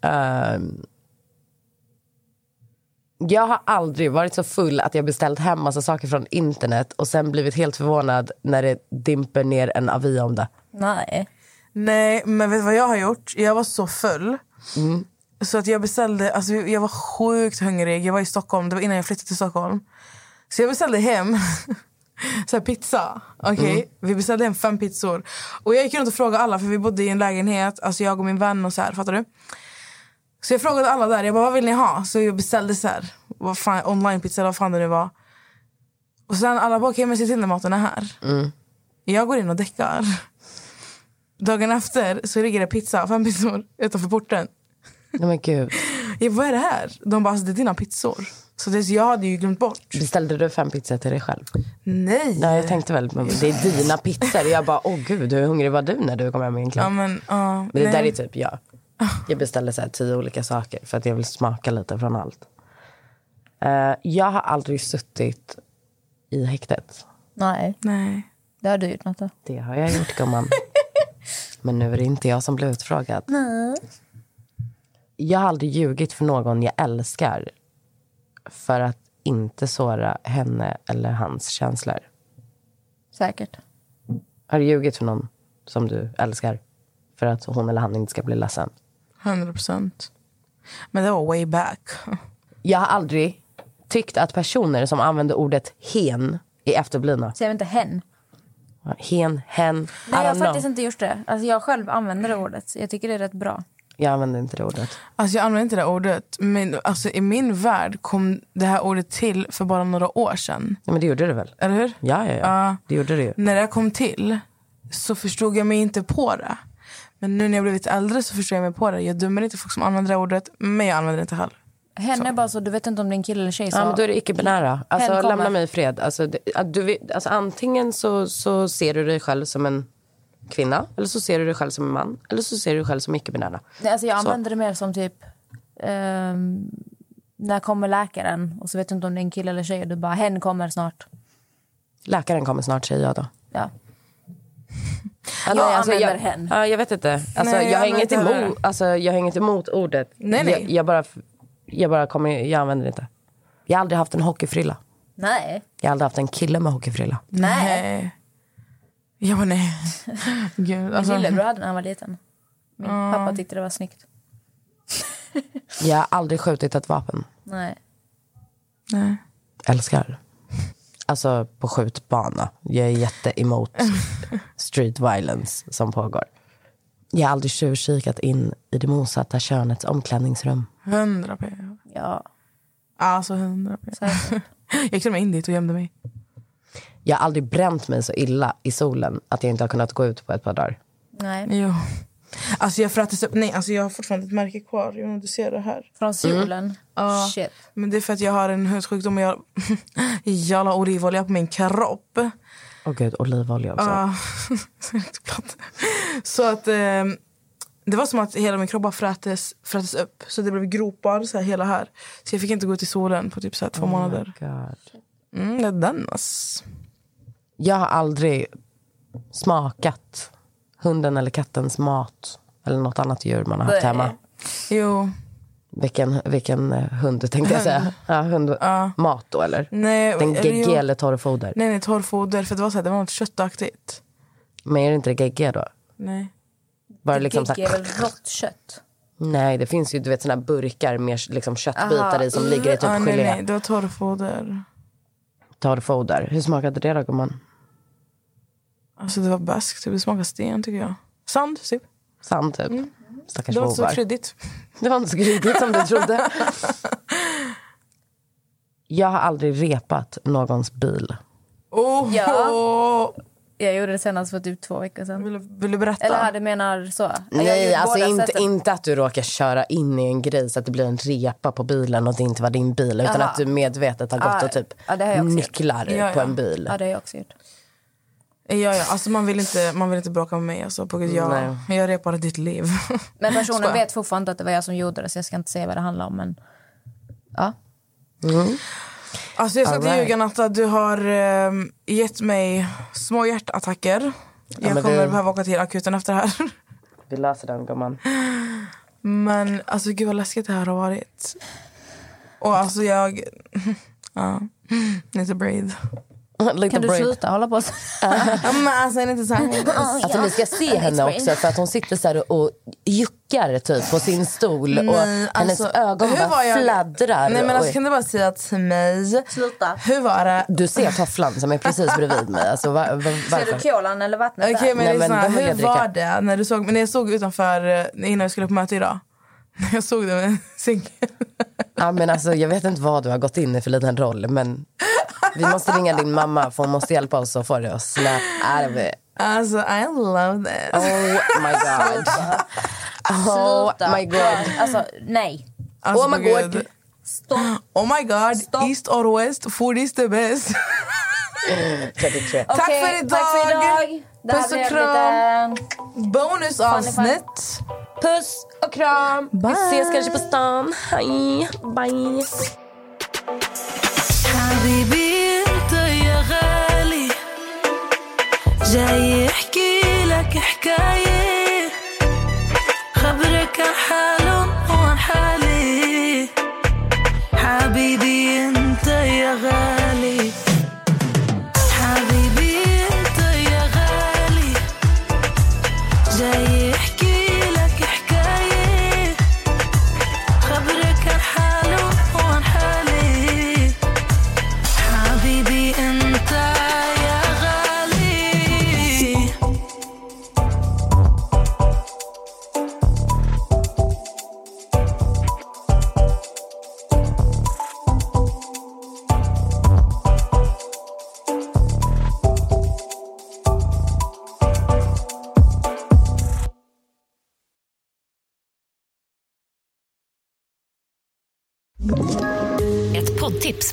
Speaker 3: Ehm, jag har aldrig varit så full att jag beställt hem massa saker från internet och sen blivit helt förvånad när det dimper ner en avi om det.
Speaker 2: Nej.
Speaker 1: Nej, men vet du vad jag har gjort? Jag var så full. Så att jag beställde, alltså jag var sjukt hungrig. Jag var i Stockholm, det var innan jag flyttade till Stockholm. Så jag beställde hem så här pizza. Okej, vi beställde hem fem pizzor. Och jag gick runt och frågade alla för vi bodde i en lägenhet, alltså jag och min vän och så här, fattar du? Så jag frågade alla där, jag bara vad vill ni ha? Så jag beställde så här, vad fan, online pizza eller vad fan det nu var. Och sen alla bara okej men se till när maten är här. Jag går in och däckar. Dagen efter så ligger det pizza, fem pizzor utanför porten.
Speaker 3: Nej men gud.
Speaker 1: Jag bara, vad är det här? De bara, alltså, det är dina pizzor. Så det, jag hade ju glömt bort.
Speaker 3: Beställde du fem pizzor till dig själv?
Speaker 1: Nej.
Speaker 3: Nej, jag tänkte väl, men det är dina pizzor. Jag bara, åh gud, hur hungrig var du när du kom hem
Speaker 1: Ja,
Speaker 3: egentligen?
Speaker 1: men, ja,
Speaker 3: Men det
Speaker 1: nej.
Speaker 3: där är typ jag. Jag beställde så här tio olika saker för att jag vill smaka lite från allt. Eh, jag har aldrig suttit i häktet.
Speaker 2: Nej.
Speaker 1: Nej.
Speaker 2: Det har du gjort, Natta.
Speaker 3: Det har jag gjort, gumman. Men nu är det inte jag som blir utfrågad. Jag har aldrig ljugit för någon jag älskar för att inte såra henne eller hans känslor.
Speaker 2: Säkert.
Speaker 3: Har du ljugit för någon som du älskar för att hon eller han inte ska bli ledsen?
Speaker 1: 100 procent. Men det var way back.
Speaker 3: Jag har aldrig tyckt att personer som använder ordet hen är efterblivna.
Speaker 2: Säger vi inte hen?
Speaker 3: Hen, hen, I
Speaker 2: Nej, jag har
Speaker 3: don't
Speaker 2: faktiskt
Speaker 3: know.
Speaker 2: inte gjort det. Alltså, jag själv använder det ordet. Jag tycker det är rätt bra.
Speaker 3: Jag använder inte det ordet.
Speaker 1: Alltså jag använder inte det här ordet. Men alltså, i min värld kom det här ordet till för bara några år sedan.
Speaker 3: Nej, men det gjorde det väl?
Speaker 1: Eller hur?
Speaker 3: Ja, ja, ja.
Speaker 1: Ja.
Speaker 3: Det gjorde det ju.
Speaker 1: När det här kom till så förstod jag mig inte på det. Men nu när jag blivit äldre så förstår jag mig på det. Jag dömer inte folk som använder det här ordet, men jag använder det inte heller.
Speaker 2: Hen är bara så, du vet inte om det är en kille eller tjej. Så.
Speaker 3: Ja, men då är det icke-binära. Alltså,
Speaker 2: Hen kommer.
Speaker 3: lämna mig i fred. Alltså, det, att du, vet- alltså, antingen så, så ser du dig själv som en kvinna, eller så ser du dig själv som en man, eller så ser du dig själv som icke-binära.
Speaker 2: Nej, alltså jag använder det mer som typ... ehm, när kommer läkaren? Och så vet du inte om det är en kille eller tjej och du bara hen kommer snart.
Speaker 3: Läkaren kommer snart säger jag då.
Speaker 2: Ja.
Speaker 3: Ja,
Speaker 2: Jag
Speaker 3: jag,
Speaker 2: använder hen.
Speaker 3: Ja, jag vet inte. Alltså,
Speaker 1: Nej,
Speaker 3: jag,
Speaker 1: jag
Speaker 3: har inget
Speaker 1: använder inte
Speaker 3: emot, alltså, jag har inget emot ordet.
Speaker 1: Nej, nej.
Speaker 3: Jag, jag bara, jag bara kommer, jag använder det inte. Jag har aldrig haft en hockeyfrilla.
Speaker 2: Nej.
Speaker 3: Jag har aldrig haft en kille med hockeyfrilla.
Speaker 1: Nej. Ja, nej. Gud, alltså.
Speaker 2: Min lillebror hade när han var liten. Min pappa tyckte det var snyggt.
Speaker 3: Jag har aldrig skjutit ett vapen.
Speaker 2: Nej.
Speaker 1: Nej.
Speaker 3: Älskar. Alltså på skjutbana. Jag är jätte emot street violence som pågår. Jag har aldrig tjuvkikat in i det motsatta könets omklädningsrum.
Speaker 1: 100 p.
Speaker 2: Ja.
Speaker 1: Alltså 100 p.
Speaker 2: Säkert.
Speaker 1: Jag gick till och med in dit och gömde mig.
Speaker 3: Jag har aldrig bränt mig så illa i solen att jag inte har kunnat gå ut på ett par dagar.
Speaker 2: Nej.
Speaker 1: Jo. Alltså jag frättes upp. Nej, alltså jag har fortfarande ett märke kvar. Jag vet inte om du ser det här.
Speaker 3: Mm.
Speaker 2: Från solen.
Speaker 1: Ja.
Speaker 2: Shit.
Speaker 1: Men det är för att jag har en hudsjukdom och jag, jag la olivolja på min kropp.
Speaker 3: Åh gud, olivolja också.
Speaker 1: Ja. Så är det platt. så att ehm, det var som att hela min kropp bara frätes, frätes upp. Så det blev gropar så här, hela här. Så jag fick inte gå ut i solen på typ så här, två månader.
Speaker 3: God.
Speaker 1: Mm, det är den ass.
Speaker 3: Jag har aldrig smakat hunden eller kattens mat eller något annat djur man har
Speaker 2: Nej.
Speaker 3: haft hemma.
Speaker 1: Jo.
Speaker 3: Vilken, vilken eh, hund tänkte jag säga. Ja, hund, Mat då eller?
Speaker 1: Nej,
Speaker 3: Den
Speaker 1: eller jo.
Speaker 3: geggig eller torrfoder?
Speaker 1: Nej, nej, torrfoder. För det var, så här, det var något köttaktigt.
Speaker 3: Men är det inte det geggiga då?
Speaker 1: Nej.
Speaker 3: Bara liksom så
Speaker 2: Gigg är
Speaker 3: här,
Speaker 2: väl rått kött?
Speaker 3: nej, det finns ju du vet, såna här burkar med liksom köttbitar
Speaker 2: Aha.
Speaker 3: i som ligger i typ
Speaker 1: Ah, nej,
Speaker 3: gelé.
Speaker 1: nej, det var torrfoder.
Speaker 3: Torrfoder. Hur smakade det då gumman?
Speaker 1: Alltså det var beskt. Typ. Det smakade sten tycker jag. Sand typ.
Speaker 3: Sand typ?
Speaker 2: Mm.
Speaker 3: Stackars
Speaker 1: Det var inte så
Speaker 3: bovar.
Speaker 1: kryddigt.
Speaker 3: Det var inte så kryddigt som du trodde. Jag har aldrig repat någons bil.
Speaker 1: Oh,
Speaker 2: Ja.
Speaker 1: oh.
Speaker 2: Jag gjorde det senast för typ två veckor sedan.
Speaker 1: Vill, du- vill du berätta?
Speaker 2: Eller hade menar så? Jag
Speaker 3: Mm. Nej,
Speaker 2: gjorde
Speaker 3: alltså
Speaker 2: båda
Speaker 3: inte,
Speaker 2: sätten.
Speaker 3: inte att du råkar köra in i en grej så att det blir en repa på bilen och det inte var din bil utan
Speaker 2: Aha.
Speaker 3: att du medvetet har gått
Speaker 2: Ah,
Speaker 3: och typ
Speaker 2: ja, det har jag också gjort.
Speaker 3: nycklar
Speaker 1: Ja,
Speaker 3: på
Speaker 1: ja.
Speaker 3: en bil.
Speaker 2: Ja, det har jag också gjort.
Speaker 1: Ja, ja. Alltså, man, vill inte, man vill inte bråka med mig. Alltså, på grund av jag, jag repade ditt liv.
Speaker 2: Men personen
Speaker 1: Skoja.
Speaker 2: vet fortfarande inte att det var jag som gjorde det så jag ska inte säga vad det handlar om. Men ja.
Speaker 1: Alltså, jag ska
Speaker 3: All
Speaker 1: inte
Speaker 3: right.
Speaker 1: ljuga, Natta. Du har eh, gett mig små hjärtattacker. Jag
Speaker 3: men
Speaker 1: kommer
Speaker 3: det-
Speaker 1: behöva åka till akuten efter det här.
Speaker 3: Vi löser den gumman.
Speaker 1: Men alltså, gud vad läskigt det här har varit. Och alltså, jag... Ja. Need to breathe.
Speaker 3: Lite
Speaker 2: Kan du
Speaker 3: break.
Speaker 2: sluta hålla på så?
Speaker 1: Ja, men alltså, är det inte så här...
Speaker 3: Alltså ni ska se henne också för att hon sitter så här och juckar typ på sin stol och
Speaker 1: Nej,
Speaker 3: hennes
Speaker 1: alltså,
Speaker 3: ögon
Speaker 1: hur
Speaker 3: bara
Speaker 1: var jag-
Speaker 3: fladdrar.
Speaker 1: Nej, men alltså,
Speaker 3: Oj.
Speaker 1: kan du bara säga till mig...
Speaker 2: Sluta.
Speaker 1: Hur var det?
Speaker 3: Du ser tofflan som är precis bredvid mig. Alltså, va- va-
Speaker 2: Är
Speaker 3: varför?
Speaker 2: du kolan eller vattnet?
Speaker 1: Okej, men
Speaker 3: Nej, men
Speaker 1: lyssna,
Speaker 3: då vill jag
Speaker 1: hur
Speaker 3: dricka.
Speaker 1: var det när du såg men när jag såg utanför eh, innan jag skulle på möte idag? När jag såg det med en singel.
Speaker 3: Ja, men alltså, jag vet inte vad du har gått in i för liten roll, men vi måste ringa din mamma för hon måste hjälpa oss att få det att snap out of it.
Speaker 1: Alltså I love this.
Speaker 3: Oh my god.
Speaker 1: Alltså,
Speaker 2: Sluta.
Speaker 3: Oh my god.
Speaker 2: Alltså, nej.
Speaker 1: Alltså,
Speaker 3: oh my god.
Speaker 2: Stopp.
Speaker 1: Oh my god,
Speaker 2: Stopp.
Speaker 1: east or west, food is the best. Tack
Speaker 2: Okej,
Speaker 1: för idag.
Speaker 2: Tack för idag. Det här
Speaker 1: Puss och
Speaker 2: blev
Speaker 1: kram.
Speaker 2: lite-
Speaker 1: Bonusavsnitt.
Speaker 3: Puss och kram. Vi ses kanske på stan. Hej. Bye.
Speaker 4: حبيبي انت يا غالي جاي يحكي لك حكاية خبرك عن حاله وعن حالي حبيبي انت يا غالي حبيبي انت يا غالي جاي يحكي لك حكاية خبرك عن حاله وعن حالي حبيبي انت يا غالي
Speaker 5: Ett poddtips